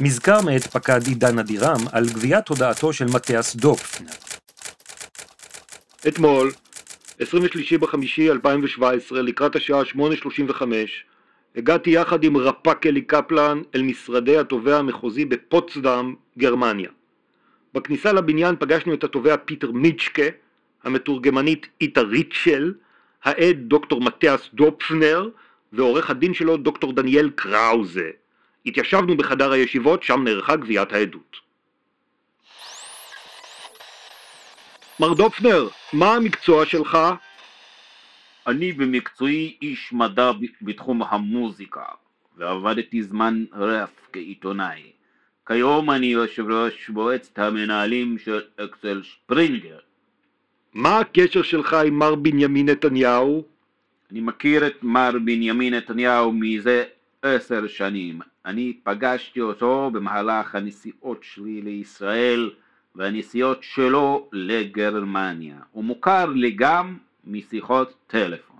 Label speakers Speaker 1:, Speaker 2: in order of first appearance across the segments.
Speaker 1: מזכר מאת פקד עידן אבירם על גביית הודעתו של מתיאס דופפנר.
Speaker 2: אתמול, 23 בחמישי 2017, לקראת השעה 8.35, הגעתי יחד עם רפ"ק אלי קפלן אל משרדי התובע המחוזי בפוצדם, גרמניה. בכניסה לבניין פגשנו את התובע פיטר מיצ'קה, המתורגמנית איטה ריטשל, העד דוקטור מתיאס דופפנר ועורך הדין שלו דוקטור דניאל קראוזה. התיישבנו בחדר הישיבות, שם נערכה גביית העדות. מר דופנר, מה המקצוע שלך?
Speaker 3: אני במקצועי איש מדע ב- בתחום המוזיקה, ועבדתי זמן רב כעיתונאי. כיום אני יושב ראש מועצת המנהלים של אקסל שפרינגר.
Speaker 2: מה הקשר שלך עם מר בנימין נתניהו?
Speaker 3: אני מכיר את מר בנימין נתניהו מזה עשר שנים. אני פגשתי אותו במהלך הנסיעות שלי לישראל והנסיעות שלו לגרמניה. הוא מוכר לי גם משיחות טלפון.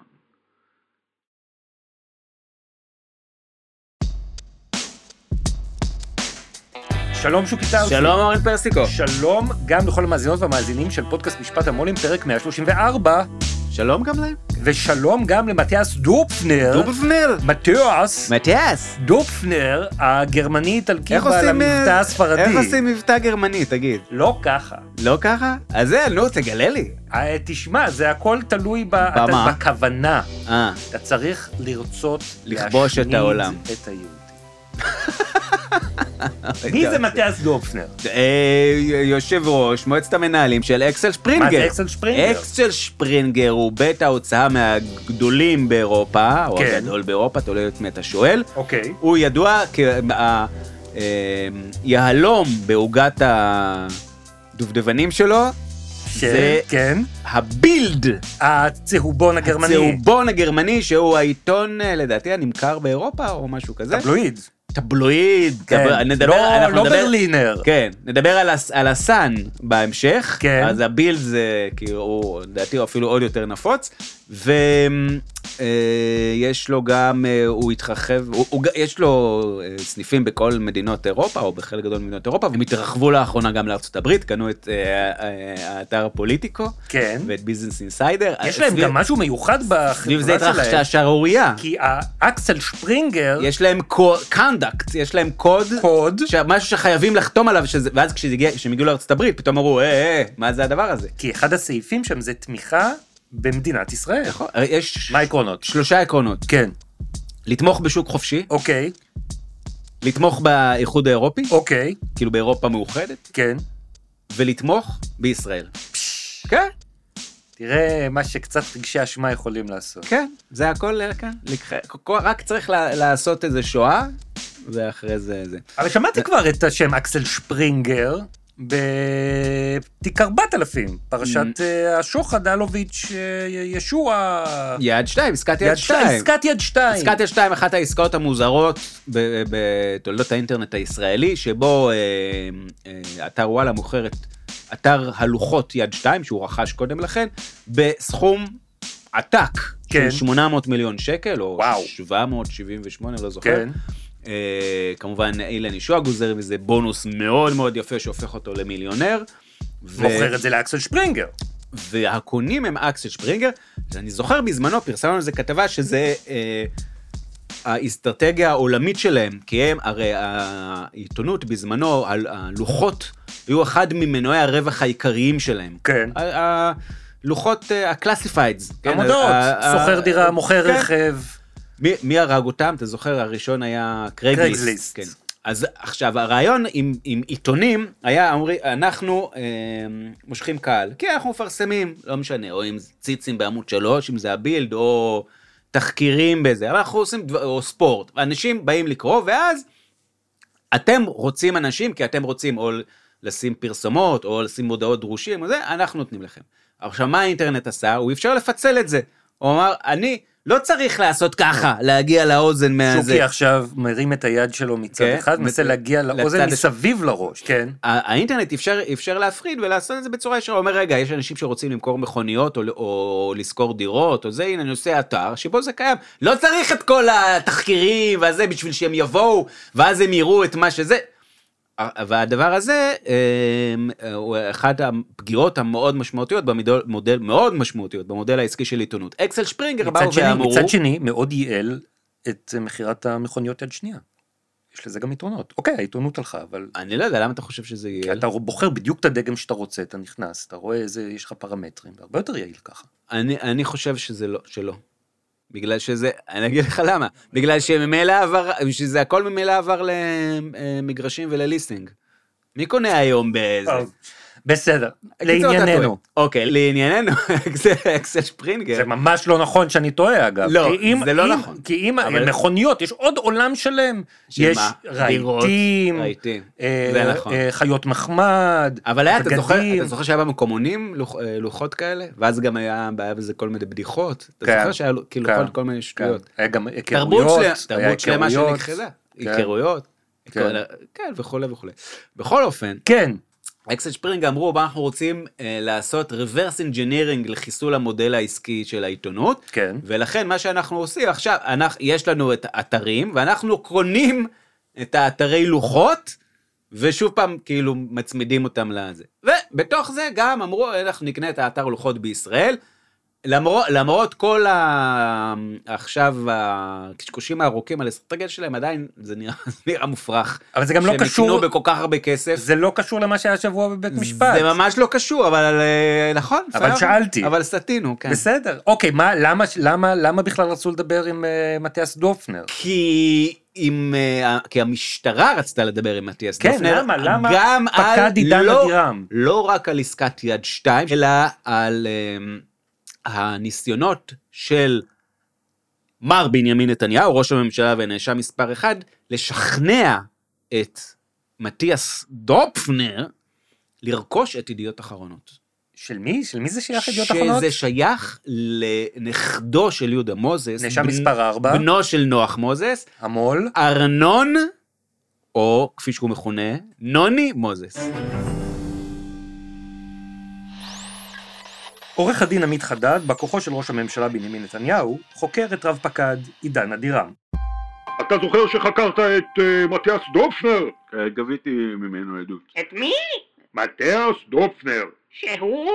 Speaker 1: שלום שוקי טרצי.
Speaker 4: שלום אורן פרסיקו.
Speaker 1: שלום גם לכל המאזינות והמאזינים של פודקאסט משפט המו"לים, פרק 134,
Speaker 4: שלום גם להם.
Speaker 1: ושלום גם למתיאס דופפנר.
Speaker 4: דובנר.
Speaker 1: מתיאס
Speaker 4: מטיאס.
Speaker 1: דופפנר, הגרמנית על
Speaker 4: איך
Speaker 1: קיבה על
Speaker 4: עושים... אה,
Speaker 1: המבטא הספרדי.
Speaker 4: איך עושים מבטא גרמני, תגיד?
Speaker 1: לא ככה.
Speaker 4: לא ככה? אז זה, נו, תגלה לי.
Speaker 1: אה, תשמע, זה הכל תלוי ב... אתה-
Speaker 4: במה?
Speaker 1: בכוונה.
Speaker 4: אה,
Speaker 1: אתה צריך לרצות
Speaker 4: לכבוש
Speaker 1: להשמיד
Speaker 4: את העולם.
Speaker 1: את היהודים. מי זה מתיאס דופפנר?
Speaker 4: אה, יושב ראש מועצת המנהלים של אקסל שפרינגר.
Speaker 1: מה זה אקסל שפרינגר?
Speaker 4: אקסל שפרינגר הוא בית ההוצאה מהגדולים באירופה, או
Speaker 1: כן.
Speaker 4: הגדול באירופה, תולי את מי אתה שואל.
Speaker 1: אוקיי.
Speaker 4: הוא ידוע כיהלום בעוגת הדובדבנים שלו, זה-
Speaker 1: כן, כן.
Speaker 4: הבילד,
Speaker 1: הצהובון הגרמני.
Speaker 4: הצהובון הגרמני, שהוא העיתון, אה, לדעתי, הנמכר באירופה או משהו כזה.
Speaker 1: טבלואיד.
Speaker 4: טבלואיד.
Speaker 1: כן.
Speaker 4: טב- נדבר-
Speaker 1: לא-
Speaker 4: אנחנו
Speaker 1: לא
Speaker 4: נדבר-
Speaker 1: ברלינר.
Speaker 4: כן, נדבר על, הס, על הסאן בהמשך,
Speaker 1: כן.
Speaker 4: אז הבילד זה כאילו, הוא, לדעתי הוא אפילו עוד יותר נפוץ, ויש לו גם, אה, הוא התרחב, הוא, הוא, ג- יש לו אה, סניפים בכל מדינות אירופה, או בחלק גדול ממדינות אירופה, והם התרחבו לאחרונה גם לארצות הברית, קנו את אה, אה, האתר פוליטיקו,
Speaker 1: כן.
Speaker 4: ואת ביזנס אינסיידר.
Speaker 1: יש להם גם משהו מיוחד
Speaker 4: סביב
Speaker 1: בחברה
Speaker 4: זה התרחשה
Speaker 1: שלהם.
Speaker 4: שערורייה.
Speaker 1: כי האקסל שפרינגר,
Speaker 4: יש להם קונדקט, יש להם קוד,
Speaker 1: קוד,
Speaker 4: משהו שחייבים לחתום עליו, שזה, ואז כשזה הגיע- כשהם הגיעו לארצות הברית, פתאום אמרו, אה, אה, מה זה הדבר הזה?
Speaker 1: כי אחד הסעיפים שם זה תמיכה במדינת ישראל.
Speaker 4: נכון, הרי יש
Speaker 1: מה העקרונות?
Speaker 4: שלושה עקרונות,
Speaker 1: כן.
Speaker 4: לתמוך בשוק חופשי,
Speaker 1: אוקיי,
Speaker 4: לתמוך באיחוד האירופי,
Speaker 1: אוקיי,
Speaker 4: כאילו באירופה מאוחדת,
Speaker 1: כן.
Speaker 4: ולתמוך בישראל. כן,
Speaker 1: תראה מה שקצת רגשי אשמה יכולים לעשות.
Speaker 4: כן, זה הכל אה, כן, לקח- כ- רק צריך לה- לעשות איזה שואה, ואחרי זה זה.
Speaker 1: אבל שמעתי כבר את השם אקסל שפרינגר בתיק 4000, פרשת אה, השוחד, אלוביץ', אה, ישוע,
Speaker 4: יעד שתיים, עסקת
Speaker 1: יד
Speaker 4: יעד שתיים.
Speaker 1: עסקת יד שתיים.
Speaker 4: עסקת יד שתיים, אחת העסקאות המוזרות ב- בתולדות האינטרנט הישראלי, שבו אה, אה, אתר וואלה מוכר את אתר הלוחות יד שתיים, שהוא רכש קודם לכן, בסכום עתק
Speaker 1: כן.
Speaker 4: של 800 מיליון שקל, או
Speaker 1: וואו.
Speaker 4: 778, לא זוכר.
Speaker 1: כן.
Speaker 4: אה, כמובן אילן ישוע גוזר מזה בונוס מאוד מאוד יפה שהופך אותו למיליונר. ו-
Speaker 1: מוכר את זה לאקסל שפרינגר.
Speaker 4: והקונים הם אקסל שפרינגר, שאני זוכר בזמנו פרסמנו על זה כתבה שזה אה, האסטרטגיה העולמית שלהם, כי הם, הרי העיתונות בזמנו, ה- הלוחות היו אחד ממנועי הרווח העיקריים שלהם.
Speaker 1: כן.
Speaker 4: ה- ה- אה, לוחות הקלאסיפיידס.
Speaker 1: עמודות, שוכר
Speaker 4: אה,
Speaker 1: דירה, מוכר
Speaker 4: כן,
Speaker 1: רכב.
Speaker 4: מי, מי הרג אותם? אתה זוכר, הראשון היה קרייגליסט.
Speaker 1: קרייגליסט.
Speaker 4: כן. אז עכשיו, הרעיון עם, עם עיתונים היה, אמרי, אנחנו אה, מושכים קהל, כי אנחנו מפרסמים, לא משנה, או אם זה ציצים בעמוד 3, אם זה הבילד, או תחקירים בזה, אבל אנחנו עושים, דבר, או ספורט. אנשים באים לקרוא, ואז אתם רוצים אנשים כי אתם רוצים או לשים פרסומות או לשים מודעות דרושים או זה, אנחנו נותנים לכם. עכשיו, מה האינטרנט עשה? הוא אפשר לפצל את זה. הוא אמר, אני לא צריך לעשות ככה, להגיע לאוזן מהזה.
Speaker 5: שוקי עכשיו מרים את היד שלו מצד
Speaker 4: אה, כן,
Speaker 5: אחד, מנסה
Speaker 4: מצד-
Speaker 5: להגיע לאוזן
Speaker 4: לצד הש-
Speaker 5: מסביב לראש, כן?
Speaker 4: ה- האינטרנט אפשר, אפשר להפריד ולעשות את זה בצורה ישרה. הוא אומר, רגע, יש אנשים שרוצים למכור מכוניות או, או לשכור דירות או זה, הנה אני עושה אתר שבו זה קיים. לא צריך את כל התחקירים והזה בשביל שהם יבואו, ואז הם יראו את מה שזה. ה- והדבר הזה אמ, הוא אחת הפגיעות המאוד משמעותיות במודל, מודל, מאוד משמעותיות במודל העסקי של עיתונות. אקסל שפרינגר
Speaker 5: מצד
Speaker 4: באו
Speaker 5: שני,
Speaker 4: ואמרו,
Speaker 5: מצד שני, מאוד ייעל את אה, מכירת המכוניות יד שנייה. יש לזה גם יתרונות. אוקיי, העיתונות הלכה, אבל
Speaker 4: אני לא יודע למה אתה חושב שזה
Speaker 5: כי
Speaker 4: יהיה.
Speaker 5: אתה בוחר בדיוק את הדגם שאתה רוצה, אתה נכנס, אתה רואה איזה, יש לך פרמטרים, והרבה יותר יעיל ככה.
Speaker 4: אני, אני חושב שזה לא, שלא. בגלל שזה, אני אגיד לך למה. בגלל שממילא עבר, שזה הכל ממילא עבר למגרשים ולליסינג. מי קונה היום באיזה?
Speaker 5: טוב, בסדר,
Speaker 4: אה. קיצור, אתה טועה.
Speaker 5: לענייננו.
Speaker 4: אוקיי, לענייננו, אקסל- אקסל שפרינגר.
Speaker 5: זה ממש לא נכון שאני טועה אגב.
Speaker 4: כן. לא,
Speaker 5: כי אם-
Speaker 4: זה לא
Speaker 5: אם-
Speaker 4: נכון.
Speaker 5: כי אם
Speaker 4: אבל-
Speaker 5: מכוניות, יש עוד עולם שלם.
Speaker 4: של
Speaker 5: יש
Speaker 4: מה? דירות,
Speaker 5: רהיטים,
Speaker 4: רהיטים.
Speaker 5: אה,
Speaker 4: זה נכון.
Speaker 5: אה, חיות מחמד,
Speaker 4: אבל היה, אתה זוכר,
Speaker 5: בגדים.
Speaker 4: אתה זוכר שהיה במקומונים לוח, אה, לוחות כאלה? ואז גם היה בעיה בזה כל מיני בדיחות. אתה
Speaker 5: כן,
Speaker 4: זוכר שהיה לו- כאילו
Speaker 5: כן,
Speaker 4: כל- כל מיני שטויות.
Speaker 5: היה גם
Speaker 4: תרבות
Speaker 5: היכרויות,
Speaker 4: שלמה-
Speaker 5: היה
Speaker 4: תרבות שלמה
Speaker 5: היכרויות.
Speaker 4: שנכחדה.
Speaker 5: כן.
Speaker 4: היכרויות.
Speaker 5: כן.
Speaker 4: היכר- כן, וכולי וכולי. בכל אופן,
Speaker 5: כן,
Speaker 4: אקסל שפרינג אמרו, "מה אנחנו רוצים אה, לעשות reverse engineering לחיסול המודל העסקי של העיתונות,
Speaker 5: כן.
Speaker 4: ולכן מה שאנחנו עושים עכשיו, אנחנו, יש לנו את האתרים, ואנחנו קונים את האתרי לוחות, ושוב פעם כאילו מצמידים אותם לזה. ובתוך זה גם אמרו, אנחנו נקנה את האתר לוחות בישראל. למרות, למרות כל ה... עכשיו הקשקושים הארוכים על אסטרטגיה שלהם, עדיין זה נראה, זה נראה מופרך.
Speaker 5: אבל זה גם לא
Speaker 4: שהם
Speaker 5: קשור,
Speaker 4: יקנו בכל כך הרבה כסף.
Speaker 5: זה לא קשור למה שהיה השבוע בבית משפט.
Speaker 4: זה ממש לא קשור, אבל אה, נכון.
Speaker 5: אבל
Speaker 4: בסדר.
Speaker 5: שאלתי.
Speaker 4: אבל סטינו, כן.
Speaker 5: בסדר. אוקיי, מה, למה, למה, למה בכלל רצו לדבר עם אה, מתיאס דופנר?
Speaker 4: כי אם, אה, כי המשטרה רצתה לדבר עם מתיאס
Speaker 5: כן,
Speaker 4: דפנר,
Speaker 5: למה? למה
Speaker 4: גם על,
Speaker 5: פקד עידן
Speaker 4: לא,
Speaker 5: אבירם?
Speaker 4: לא רק על עסקת יד שתיים, אלא על אה, הניסיונות של מר בנימין נתניהו, ראש הממשלה ונאשם מספר אחד, לשכנע את מתיאס דופנר לרכוש את ידיעות אחרונות.
Speaker 5: של מי? של מי זה שייך ידיעות אחרונות?
Speaker 4: שזה שייך לנכדו של יהודה מוזס.
Speaker 5: נאשם מספר 4,
Speaker 4: בנו של נוח מוזס,
Speaker 5: המו"ל.
Speaker 4: ארנון, או כפי שהוא מכונה, נוני מוזס.
Speaker 5: עורך הדין עמית חדד, בא כוחו של ראש הממשלה בנימין נתניהו, חוקר את רב פקד עידן אדירם.
Speaker 2: אתה זוכר שחקרת את אה, מתיאס דופנר?
Speaker 6: אה, גביתי ממנו עדות.
Speaker 7: את מי?
Speaker 2: מתיאס דופנר.
Speaker 7: שהוא?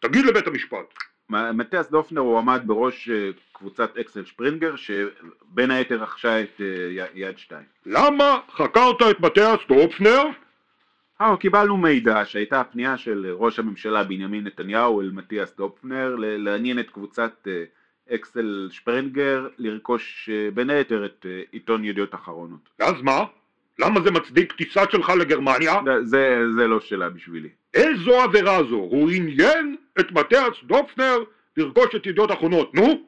Speaker 2: תגיד לבית המשפט.
Speaker 6: מתיאס דופנר הוא עמד בראש אה, קבוצת אקסל שפרינגר שבין היתר רכשה את אה, י- יד שתיים.
Speaker 2: למה חקרת את מתיאס דופנר?
Speaker 6: אה, קיבלנו מידע שהייתה פנייה של ראש הממשלה בנימין נתניהו אל מתיאס דופנר ל- לעניין את קבוצת אה, אקסל שפרינגר לרכוש אה, בין היתר את אה, עיתון ידיעות אחרונות.
Speaker 2: ואז מה? למה זה מצדיק טיסה שלך לגרמניה?
Speaker 6: זה- זה, זה לא שאלה בשבילי.
Speaker 2: איזו עבירה זו? הוא עניין את מתיאס דופנר לרכוש את ידיעות אחרונות. נו?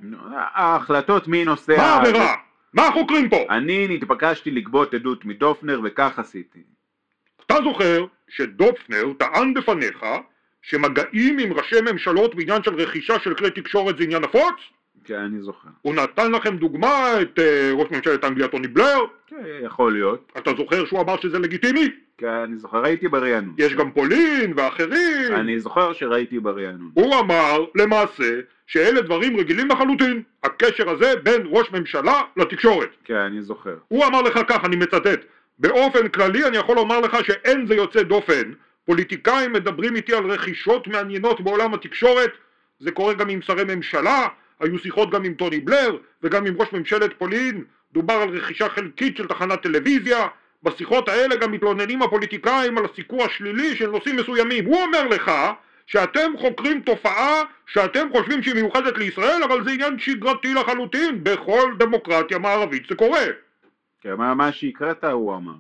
Speaker 6: ההחלטות מי נוסע...
Speaker 2: מה העבירה? מה החוקרים פה?
Speaker 6: אני נתבקשתי לגבות עדות מדופנר וכך עשיתי.
Speaker 2: אתה זוכר שדופנר טען בפניך שמגעים עם ראשי ממשלות בעניין של רכישה של כלי תקשורת זה עניין נפוץ?
Speaker 6: כן, אני זוכר.
Speaker 2: הוא נתן לכם דוגמה את אה, ראש ממשלת אנגליה טוני בלר?
Speaker 6: כן, יכול להיות.
Speaker 2: אתה זוכר שהוא אמר שזה לגיטימי?
Speaker 6: כן, אני זוכר, הייתי ברענון.
Speaker 2: יש גם פולין ואחרים.
Speaker 6: אני זוכר שראיתי ברענון.
Speaker 2: הוא אמר למעשה שאלה דברים רגילים לחלוטין, הקשר הזה בין ראש ממשלה לתקשורת.
Speaker 6: כן, אני זוכר.
Speaker 2: הוא אמר לך כך, אני מצטט: באופן כללי אני יכול לומר לך שאין זה יוצא דופן. פוליטיקאים מדברים איתי על רכישות מעניינות בעולם התקשורת, זה קורה גם עם שרי ממשלה, היו שיחות גם עם טוני בלר וגם עם ראש ממשלת פולין, דובר על רכישה חלקית של תחנת טלוויזיה, בשיחות האלה גם מתלוננים הפוליטיקאים על הסיקור השלילי של נושאים מסוימים. הוא אומר לך שאתם חוקרים תופעה שאתם חושבים שהיא מיוחדת לישראל, אבל זה עניין שגרתי לחלוטין, בכל דמוקרטיה מערבית זה קורה.
Speaker 6: כן, מה, מה שהקראת הוא אמר.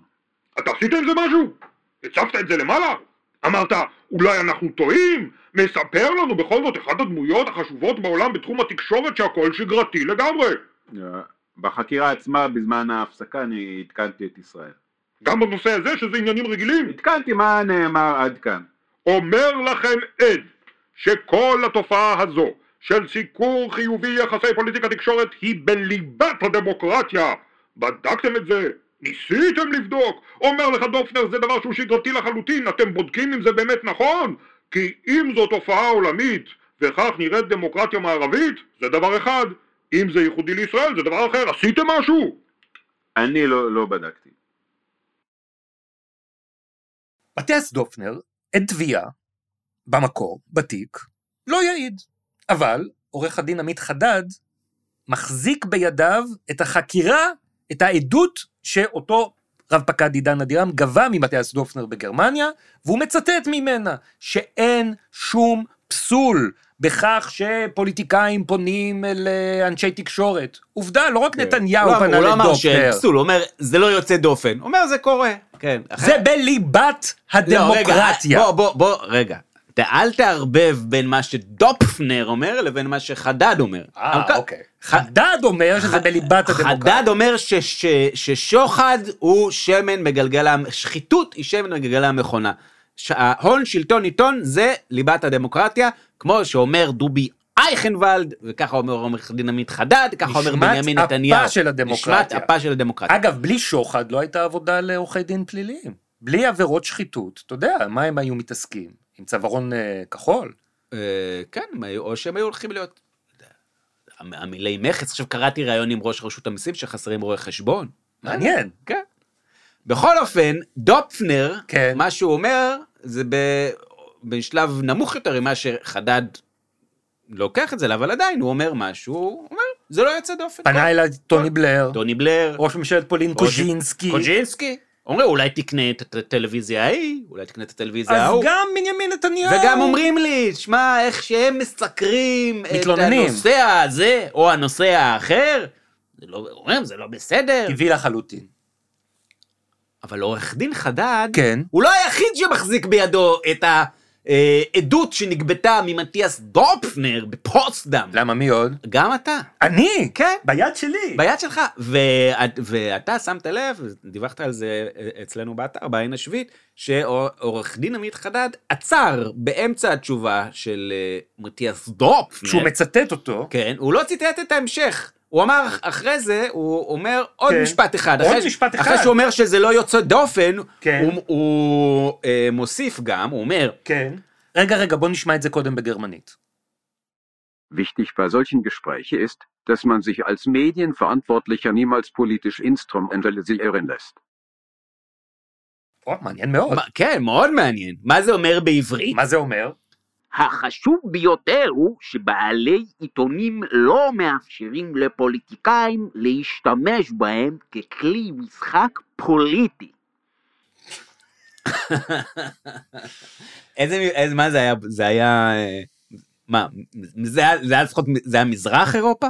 Speaker 2: אתה עשית אה, עם זה משהו? הצפת את זה למעלה? אמרת, אולי אנחנו טועים? מספר לנו בכל זאת אחת הדמויות החשובות בעולם בתחום התקשורת שהכל שגרתי לגמרי.
Speaker 6: אה, בחקירה עצמה, בזמן ההפסקה, אני עדכנתי את ישראל.
Speaker 2: גם בנושא הזה, שזה עניינים רגילים.
Speaker 8: עדכנתי מה נאמר עד כאן.
Speaker 2: אומר לכם עד שכל התופעה הזו של סיקור חיובי יחסי פוליטיקה תקשורת היא בליבת הדמוקרטיה. בדקתם את זה? ניסיתם לבדוק? אומר לך דופנר זה דבר שהוא שגרתי לחלוטין, אתם בודקים אם זה באמת נכון? כי אם זו תופעה עולמית וכך נראית דמוקרטיה מערבית, זה דבר אחד. אם זה ייחודי לישראל זה דבר אחר, עשיתם משהו?
Speaker 8: אני לא, לא בדקתי.
Speaker 1: בטס דופנר עד תביעה, במקור, בתיק, לא יעיד. אבל עורך הדין עמית חדד מחזיק בידיו את החקירה, את העדות שאותו רב פקד עידן אדירם גבה ממתיאס דופנר בגרמניה, והוא מצטט ממנה שאין שום פסול בכך שפוליטיקאים פונים אל אה, אנשי תקשורת. עובדה, לא רק נתניהו
Speaker 4: הוא
Speaker 1: פנה
Speaker 4: לא אמר שאין
Speaker 1: לדופנר,
Speaker 4: פסול, הוא אומר, זה לא יוצא דופן. הוא אומר, זה קורה. כן. אחרי-
Speaker 1: זה בליבת
Speaker 4: לא, רגע,
Speaker 1: הדמוקרטיה.
Speaker 4: בוא, בוא, בוא, רגע. אתה אל תערבב בין מה שדופנר אומר לבין מה שחדד אומר. אבל-
Speaker 1: אה, אוקיי. חדד אומר שזה בליבת הדמוקרטיה.
Speaker 4: חדד אומר ש- ש- ששוחד הוא שמן בגלגל, המ- שחיתות היא שמן בגלגל המכונה. ש- ההון, שלטון, עיתון זה ליבת הדמוקרטיה, כמו שאומר דובי אייכנוולד, וככה אומר עורך דין עמית חדד, ככה אומר
Speaker 1: נשמת
Speaker 4: בנימין
Speaker 1: אפה
Speaker 4: נתניהו.
Speaker 1: של הדמוקרטיה.
Speaker 4: נשמת אפה של הדמוקרטיה.
Speaker 1: אגב, בלי שוחד לא הייתה עבודה לעורכי דין פליליים. בלי עבירות שחיתות, אתה יודע, מה הם היו מתעסקים? עם צווארון אה, כחול?
Speaker 4: אה, כן, הם היו- או שהם היו הולכים להיות... המ- המילי מכס, עכשיו קראתי ראיון עם ראש רשות המיסים שחסרים רואי חשבון.
Speaker 1: מעניין.
Speaker 4: כן. בכל אופן, דופנר,
Speaker 1: כן.
Speaker 4: מה שהוא אומר, זה ב... בשלב נמוך יותר ממה שחדד לוקח את זה, אבל עדיין הוא אומר משהו, הוא אומר, זה לא יוצא דופן.
Speaker 1: פנה אליי טוני בלר,
Speaker 4: טוני בלר,
Speaker 1: ראש ממשלת פולין קוז'ינסקי.
Speaker 4: קוז'ינסקי. אומרים, אולי תקנה את הטלוויזיה ההיא, אולי תקנה את הטלוויזיה
Speaker 1: אז
Speaker 4: ההוא.
Speaker 1: גם בנימין נתניהו.
Speaker 4: וגם אומרים לי, שמע, איך שהם מסקרים את
Speaker 1: מתלוננים.
Speaker 4: הנושא הזה, או הנושא האחר, זה לא, אומרים, זה לא בסדר.
Speaker 1: טבעי לחלוטין.
Speaker 4: אבל עורך דין חדד,
Speaker 1: כן.
Speaker 4: הוא לא היחיד שמחזיק בידו את העדות שנגבתה ממתיאס דופנר בפוסטדם.
Speaker 1: למה, מי עוד?
Speaker 4: גם אתה,
Speaker 1: אני!
Speaker 4: כן.
Speaker 1: ביד שלי.
Speaker 4: ביד שלך. ואת- ואתה שמת לב, דיווחת על זה אה, אצלנו באתר, בעין השביעית, שעורך דין עמית חדד עצר באמצע התשובה של אה, מתיאס דופנר.
Speaker 1: כשהוא מצטט אותו,
Speaker 4: כן, הוא לא ציטט את ההמשך. הוא אמר, אחרי זה, הוא אומר עוד
Speaker 1: כן.
Speaker 4: משפט אחד.
Speaker 1: עוד
Speaker 4: אחרי, ש-
Speaker 1: משפט אחד.
Speaker 4: אחרי שהוא אומר שזה לא יוצא דופן,
Speaker 1: כן.
Speaker 4: הוא, הוא אה, מוסיף גם, הוא אומר,
Speaker 1: כן. רגע, רגע, בוא נשמע את זה קודם בגרמנית.
Speaker 6: Wichtig bei solchen Gesprächen ist, dass man sich als Medienverantwortlicher niemals politisch instrumentalisieren lässt.
Speaker 1: או, מעניין מאוד.
Speaker 4: מה, כן, מאוד מעניין. מה זה אומר בעברית?
Speaker 1: מה זה אומר?
Speaker 9: החשוב ביותר הוא שבעלי עיתונים לא מאפשרים לפוליטיקאים להשתמש בהם ככלי משחק פוליטי.
Speaker 4: איזה, מ- איזה, מה זה היה? זה היה... אה, מה, זה היה, זה היה לפחות, זה היה מזרח אירופה?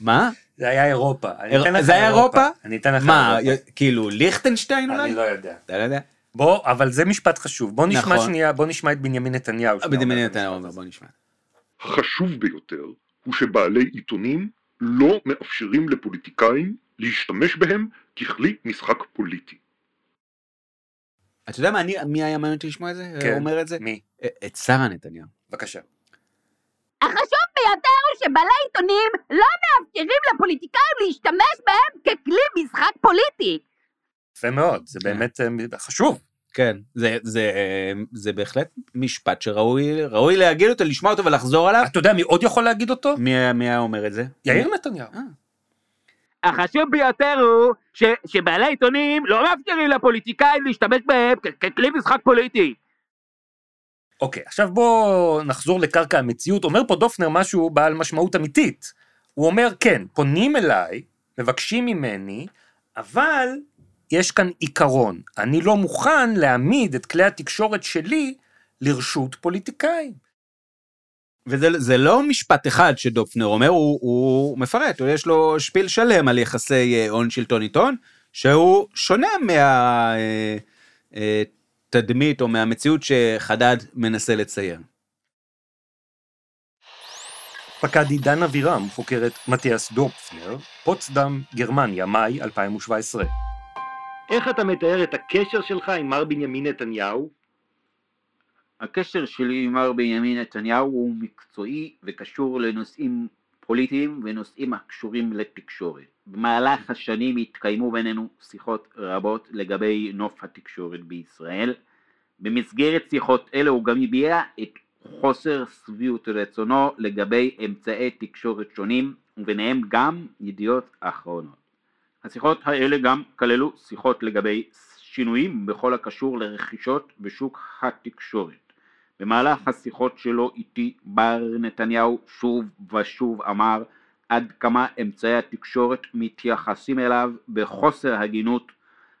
Speaker 4: מה?
Speaker 1: זה היה אירופה. אני
Speaker 4: איר-
Speaker 1: אתן לך
Speaker 4: זה היה אירופה?
Speaker 1: אני אתן לך
Speaker 4: מה,
Speaker 1: אירופה.
Speaker 4: י- כאילו ליכטנשטיין אולי?
Speaker 1: אני לא יודע.
Speaker 4: אתה לא יודע?
Speaker 1: בוא, אבל זה משפט חשוב. בוא נשמע
Speaker 4: נכון.
Speaker 1: שנייה, בוא נשמע את בנימין נתניהו. שנייה
Speaker 4: בדיוק
Speaker 1: אומר
Speaker 4: אתה
Speaker 1: את
Speaker 4: אומר,
Speaker 1: המשפט
Speaker 4: בוא נשמע.
Speaker 2: החשוב ביותר הוא שבעלי עיתונים לא מאפשרים לפוליטיקאים להשתמש בהם ככלי משחק פוליטי.
Speaker 4: אתה יודע מה, אני, מי היה מעניין אותי לשמוע את זה?
Speaker 1: הזה. כן.
Speaker 4: אומר את זה?
Speaker 1: מי?
Speaker 4: אה, את שרה נתניהו.
Speaker 1: בבקשה.
Speaker 10: החשוב ביותר הוא שבעלי עיתונים לא מאפשרים לפוליטיקאים להשתמש בהם ככלי משחק פוליטי.
Speaker 1: יפה מאוד, זה באמת אה, חשוב.
Speaker 4: כן, זה, זה, אה, זה בהחלט משפט שראוי ראוי להגיד אותו, לשמוע אותו ולחזור עליו.
Speaker 1: אתה יודע מי עוד יכול להגיד אותו?
Speaker 4: מי, היה- מי היה אומר את זה?
Speaker 1: יאיר נתניהו.
Speaker 9: אה. החשוב ביותר הוא ש, שבעלי עיתונים לא מאפשרים לפוליטיקאים להשתמש בהם כ- ככלי משחק פוליטי.
Speaker 1: אוקיי, עכשיו בואו נחזור לקרקע המציאות. אומר פה דופנר משהו בעל משמעות אמיתית. הוא אומר, כן, פונים אליי, מבקשים ממני, אבל יש כאן עיקרון. אני לא מוכן להעמיד את כלי התקשורת שלי לרשות פוליטיקאים.
Speaker 4: וזה זה לא משפט אחד שדופנר אומר, הוא, הוא מפרט, הוא- יש לו שפיל שלם על יחסי אה, הון שלטון עיתון, שהוא שונה מה... אה, אה, תדמית או מהמציאות שחדד מנסה לצייר.
Speaker 1: פקד עידן אבירם חוקרת מתיאס דופנר, פוצדם, גרמניה, מאי 2017.
Speaker 2: איך אתה מתאר את הקשר שלך עם מר בנימין נתניהו?
Speaker 6: הקשר שלי עם מר בנימין נתניהו הוא מקצועי וקשור לנושאים פוליטיים ונושאים הקשורים לתקשורת. במהלך השנים התקיימו בינינו שיחות רבות לגבי נוף התקשורת בישראל. במסגרת שיחות אלה הוא גם הביע את חוסר שביעות רצונו לגבי אמצעי תקשורת שונים וביניהם גם ידיעות אחרונות. השיחות האלה גם כללו שיחות לגבי שינויים בכל הקשור לרכישות בשוק התקשורת. במהלך השיחות שלו איתי בר נתניהו שוב ושוב אמר עד כמה אמצעי התקשורת מתייחסים אליו בחוסר הגינות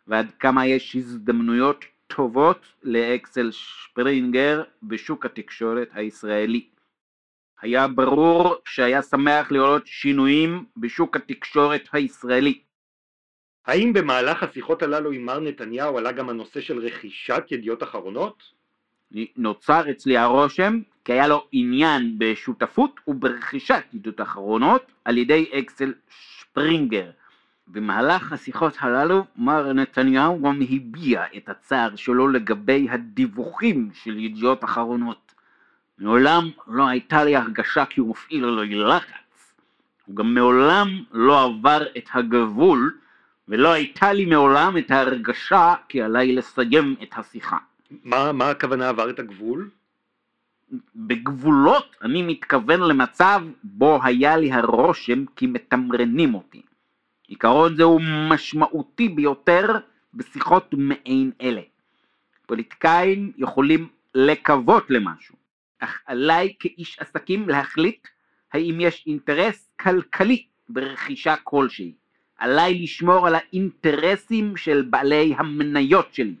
Speaker 6: ועד כמה יש הזדמנויות טובות לאקסל שפרינגר בשוק התקשורת הישראלי. היה ברור שהיה שמח לראות שינויים בשוק התקשורת הישראלי.
Speaker 2: האם במהלך השיחות הללו עם מר נתניהו עלה גם הנושא של רכישת ידיעות אחרונות?
Speaker 6: נוצר אצלי הרושם כי היה לו עניין בשותפות וברכישת ידיעות אחרונות על ידי אקסל שפרינגר. במהלך השיחות הללו מר נתניהו גם הביע את הצער שלו לגבי הדיווחים של ידיעות אחרונות. מעולם לא הייתה לי הרגשה כי הוא מפעיל עלי לחץ. הוא גם מעולם לא עבר את הגבול ולא הייתה לי מעולם את ההרגשה כי עליי לסיים את השיחה.
Speaker 2: מה, מה הכוונה עבר את הגבול?
Speaker 6: בגבולות אני מתכוון למצב בו היה לי הרושם כי מתמרנים אותי. עיקרון זה הוא משמעותי ביותר בשיחות מעין אלה. פוליטיקאים יכולים לקוות למשהו, אך עליי כאיש עסקים להחליט האם יש אינטרס כלכלי ברכישה כלשהי. עליי לשמור על האינטרסים של בעלי המניות שלי.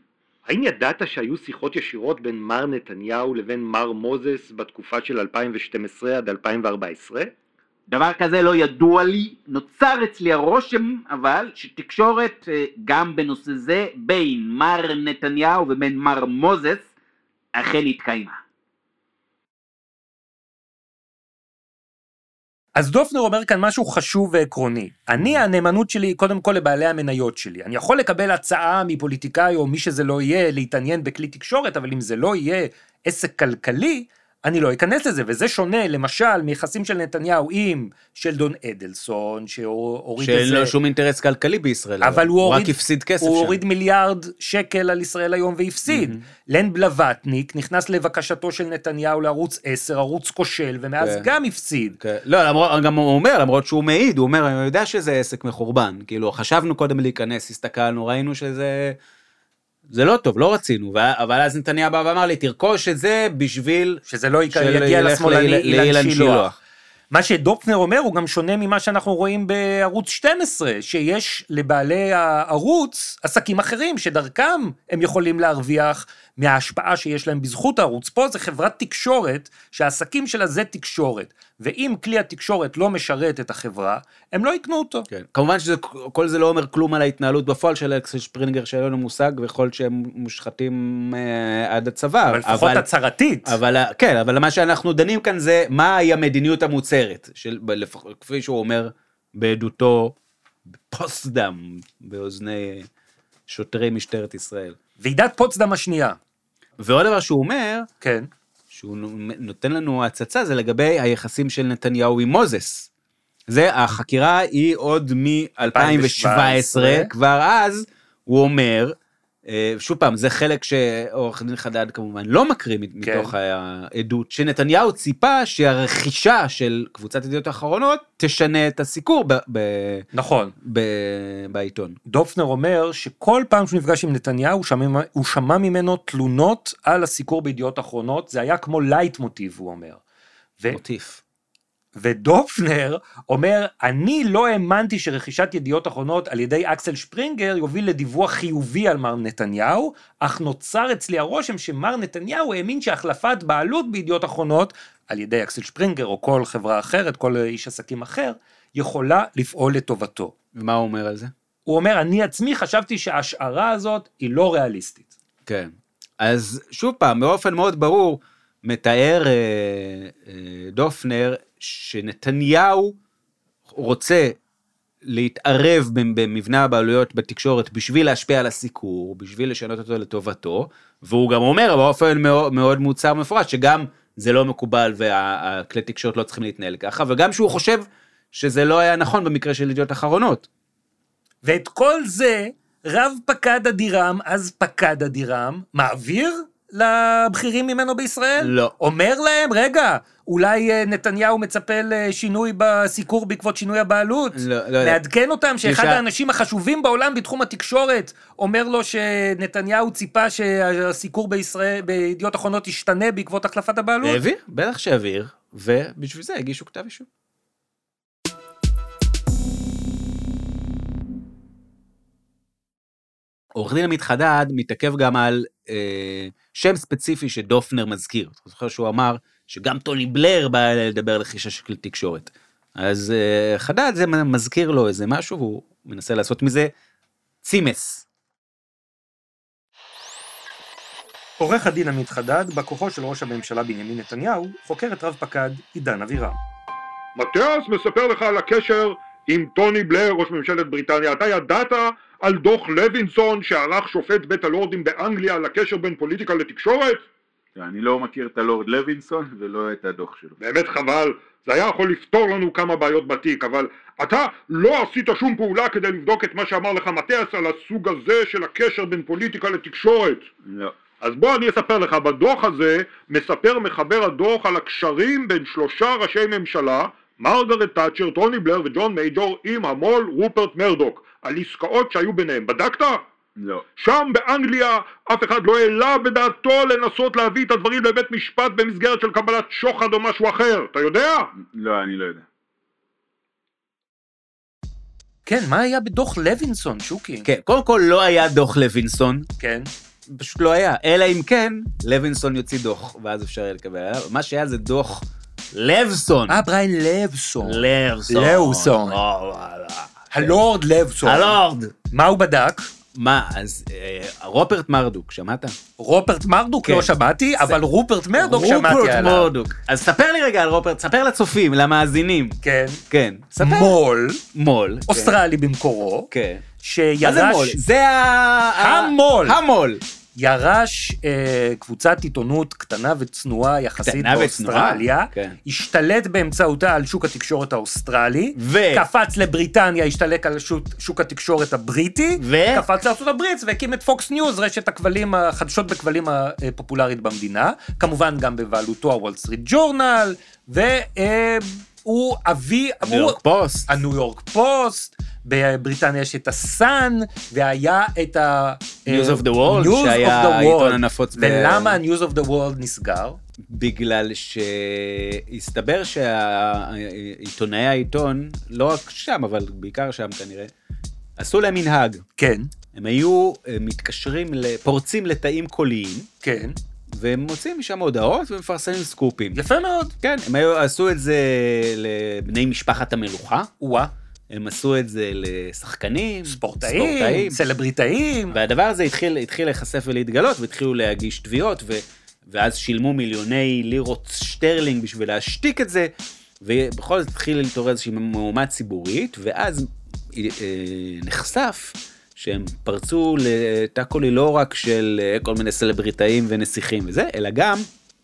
Speaker 2: האם ידעת שהיו שיחות ישירות בין מר נתניהו לבין מר מוזס בתקופה של 2012 עד 2014?
Speaker 6: דבר כזה לא ידוע לי, נוצר אצלי הרושם אבל שתקשורת אה, גם בנושא זה בין מר נתניהו ובין מר מוזס אכן התקיימה.
Speaker 1: אז דופנר אומר כאן משהו חשוב ועקרוני.
Speaker 4: Mm.
Speaker 1: אני, הנאמנות שלי היא קודם כל לבעלי המניות שלי. אני יכול לקבל הצעה מפוליטיקאי או מי שזה לא יהיה להתעניין בכלי תקשורת, אבל אם זה לא יהיה עסק כלכלי, אני לא אכנס לזה, וזה שונה למשל מיחסים של נתניהו עם שלדון אדלסון, שהוריד
Speaker 4: שאין
Speaker 1: איזה...
Speaker 4: לו שום אינטרס כלכלי בישראל,
Speaker 1: אבל הוא הוריד,
Speaker 4: רק הפסיד כסף
Speaker 1: הוא
Speaker 4: שם.
Speaker 1: הוריד מיליארד שקל על ישראל היום והפסיד. Mm-hmm. לן בלווטניק נכנס לבקשתו של נתניהו לערוץ 10, ערוץ כושל, ומאז
Speaker 4: כן.
Speaker 1: גם הפסיד.
Speaker 4: כן. לא, למרות, גם הוא אומר, למרות שהוא מעיד, הוא אומר, אני יודע שזה עסק מחורבן. כאילו, חשבנו קודם להיכנס, הסתכלנו, ראינו שזה... זה לא טוב, לא רצינו. ו- אבל אז נתניה בא ואמר לי, תרכוש את זה בשביל...
Speaker 1: שזה לא יקרה,
Speaker 4: של-
Speaker 1: יגיע
Speaker 4: ילך
Speaker 1: לשמאלני
Speaker 4: לאילן-
Speaker 1: אילן
Speaker 4: לאילן
Speaker 1: שילוח.
Speaker 4: שילוח.
Speaker 1: מה שדופנר אומר הוא גם שונה ממה שאנחנו רואים בערוץ 12, שיש לבעלי הערוץ עסקים אחרים שדרכם הם יכולים להרוויח מההשפעה שיש להם בזכות הערוץ. פה זה חברת תקשורת שהעסקים שלה זה תקשורת, ואם כלי התקשורת לא משרת את החברה, הם לא יקנו אותו.
Speaker 4: כן. כמובן שכל זה לא אומר כלום על ההתנהלות בפועל של אלכס שפרינגר, שאין לנו מושג, ויכול להיות שהם מושחתים אה, עד הצוואר.
Speaker 1: אבל לפחות הצהרתית.
Speaker 4: אבל ה- כן, אבל מה שאנחנו דנים כאן זה מהי המדיניות המוצהרת, של, ב- לפח- כפי שהוא אומר בעדותו פוסט-דם באוזני שוטרי משטרת ישראל.
Speaker 1: ועידת פוצדם השנייה,
Speaker 4: ועוד דבר שהוא אומר,
Speaker 1: כן.
Speaker 4: שהוא נו- נותן לנו הצצה, זה לגבי היחסים של נתניהו עם מוזס. זה, החקירה היא עוד מ-2017,
Speaker 1: 2017.
Speaker 4: כבר אז הוא אומר, אה, שוב פעם, זה חלק שעורך דין חדד כמובן לא מקריא מת-
Speaker 1: כן.
Speaker 4: מתוך העדות, שנתניהו ציפה שהרכישה של קבוצת ידיעות אחרונות תשנה את הסיקור ב- ב-
Speaker 1: נכון.
Speaker 4: ב- בעיתון.
Speaker 1: דופנר אומר שכל פעם שהוא נפגש עם נתניהו הוא שמע, הוא שמע ממנו תלונות על הסיקור בידיעות אחרונות, זה היה כמו לייטמוטיב הוא אומר. ו,
Speaker 4: מוטיף.
Speaker 1: ודופנר אומר, אני לא האמנתי שרכישת ידיעות אחרונות על ידי אקסל שפרינגר יוביל לדיווח חיובי על מר נתניהו, אך נוצר אצלי הרושם שמר נתניהו האמין שהחלפת בעלות בידיעות אחרונות על ידי אקסל שפרינגר או כל חברה אחרת, כל איש עסקים אחר, יכולה לפעול לטובתו.
Speaker 4: ומה הוא אומר על זה?
Speaker 1: הוא אומר, אני עצמי חשבתי שההשערה הזאת היא לא ריאליסטית.
Speaker 4: כן. אז שוב פעם, באופן מאוד ברור, מתאר אה, אה, דופנר שנתניהו רוצה להתערב במ- במבנה הבעלויות בתקשורת בשביל להשפיע על הסיקור, בשביל לשנות אותו לטובתו, והוא גם אומר באופן מאוד, מאוד מוצר ומפורש שגם זה לא מקובל והכלי תקשורת לא צריכים להתנהל ככה, וגם שהוא חושב שזה לא היה נכון במקרה של ידיעות אחרונות.
Speaker 1: ואת כל זה, רב פקד אדירם, אז פקד אדירם, מעביר לבכירים ממנו בישראל?
Speaker 4: לא.
Speaker 1: אומר להם, רגע, אולי אה, נתניהו מצפה לשינוי בסיקור בעקבות שינוי הבעלות?
Speaker 4: לא, לא יודע.
Speaker 1: לעדכן אותם שאחד
Speaker 4: נשאר-
Speaker 1: האנשים החשובים בעולם בתחום התקשורת אומר לו שנתניהו ציפה שהסיקור בישראל, בידיעות אחרונות ישתנה בעקבות החלפת הבעלות?
Speaker 4: העביר, בטח שהעביר, ובשביל זה הגישו כתב אישום. עורך דין עמית חדד מתעכב גם על אה, שם ספציפי שדופנר מזכיר. אתה זוכר שהוא אמר שגם טוני בלר בא אליי לדבר לחישה של כלי תקשורת. אז אה, חדד זה מזכיר לו איזה משהו, והוא מנסה לעשות מזה צימס.
Speaker 5: עורך הדין עמית חדד, בא כוחו של ראש הממשלה בנימין נתניהו, חוקר את רב פקד עידן אבירם.
Speaker 2: מטיאס מספר לך על הקשר עם טוני בלר, ראש ממשלת בריטניה. אתה ידעת על דוח לוינסון שערך שופט בית הלורדים באנגליה על הקשר בין פוליטיקה לתקשורת?
Speaker 6: אני לא מכיר את הלורד לוינסון ולא את הדוח שלו.
Speaker 2: באמת חבל, זה היה יכול לפתור לנו כמה בעיות בתיק, אבל אתה לא עשית שום פעולה כדי לבדוק את מה שאמר לך מטיאס על הסוג הזה של הקשר בין פוליטיקה לתקשורת.
Speaker 6: לא.
Speaker 2: אז בוא אני אספר לך, בדוח הזה מספר מחבר הדוח על הקשרים בין שלושה ראשי ממשלה, מרגרט תאצ'ר, טוני בלר וג'ון מייג'ור עם המו"ל רופרט מרדוק, על עסקאות שהיו ביניהם. בדקת?
Speaker 6: לא.
Speaker 2: שם באנגליה אף אחד לא העלה בדעתו לנסות להביא את הדברים לבית משפט במסגרת של קבלת שוחד או משהו אחר, אתה יודע?
Speaker 6: לא, אני לא יודע.
Speaker 1: כן, מה היה בדוח לוינסון, שוקי?
Speaker 4: כן, קודם כל לא היה דוח לוינסון,
Speaker 1: כן.
Speaker 4: פשוט לא היה, אלא אם כן, לוינסון יוציא דוח, ואז אפשר יהיה לקבל עליו. מה שהיה זה דוח לבסון.
Speaker 1: אה, בריין לבסון.
Speaker 4: לבסון.
Speaker 1: לבסון.
Speaker 4: או, לא, וואלה.
Speaker 1: הלורד לבסון.
Speaker 4: הלורד.
Speaker 1: מה הוא בדק?
Speaker 4: מה, אז אה, רופרט מרדוק, שמעת?
Speaker 1: רופרט מרדוק
Speaker 4: כן.
Speaker 1: לא שמעתי, אבל רופרט מרדוק שמעתי
Speaker 4: רופרט
Speaker 1: עליו.
Speaker 4: מרדוק. אז ספר לי רגע על רופרט, ספר לצופים, למאזינים.
Speaker 1: כן.
Speaker 4: כן. ספר.
Speaker 1: מו"ל,
Speaker 5: כן.
Speaker 4: מו"ל.
Speaker 1: אוסטרלי במקורו,
Speaker 4: כן.
Speaker 1: שירש...
Speaker 4: מה זה מו"ל? זה ה...
Speaker 1: המו"ל.
Speaker 4: המו"ל.
Speaker 1: ירש אה, קבוצת עיתונות קטנה וצנועה יחסית
Speaker 4: קטנה וצנועה,
Speaker 1: באוסטרליה,
Speaker 4: כן.
Speaker 1: השתלט באמצעותה על שוק התקשורת האוסטרלי,
Speaker 4: ו-
Speaker 1: קפץ לבריטניה, השתלט על שוק, שוק התקשורת הבריטי,
Speaker 4: ו-
Speaker 1: קפץ לארצות הברית והקים את פוקס ניוז, רשת הכבלים, החדשות בכבלים הפופולרית במדינה, כמובן גם בבעלותו הוול סטריט ג'ורנל, והוא אה, הוא אבי,
Speaker 4: ניו
Speaker 1: הוא-
Speaker 4: יורק פוסט.
Speaker 1: הניו יורק פוסט, בבריטניה יש את הסאן, והיה את ה...
Speaker 4: News
Speaker 1: אה,
Speaker 4: of the World,
Speaker 1: News
Speaker 4: שהיה
Speaker 1: of the
Speaker 4: העיתון
Speaker 1: World.
Speaker 4: הנפוץ ב-
Speaker 1: ולמה ה-News of the World נסגר?
Speaker 4: בגלל שהסתבר שעיתונאי העיתון, לא רק שם, אבל בעיקר שם כנראה, עשו להם מנהג.
Speaker 1: כן,
Speaker 4: הם היו אה, מתקשרים, ל- פורצים לתאים קוליים,
Speaker 1: כן.
Speaker 4: והם מוצאים משם הודעות ומפרסמים סקופים.
Speaker 1: יפה מאוד.
Speaker 4: כן, הם היו, עשו את זה לבני משפחת המלוכה,
Speaker 1: וואה,
Speaker 4: הם עשו את זה לשחקנים,
Speaker 1: ספורטאים, סלבריטאים.
Speaker 4: והדבר הזה התחיל, התחיל להיחשף ולהתגלות, והתחילו להגיש תביעות, ו, ואז שילמו מיליוני לירות שטרלינג בשביל להשתיק את זה, ובכל זאת התחיל להתעורר איזושהי מהומה ציבורית, ואז אה, נחשף שהם פרצו לתא קולי לא רק של אה, כל מיני סלבריטאים ונסיכים וזה, אלא גם,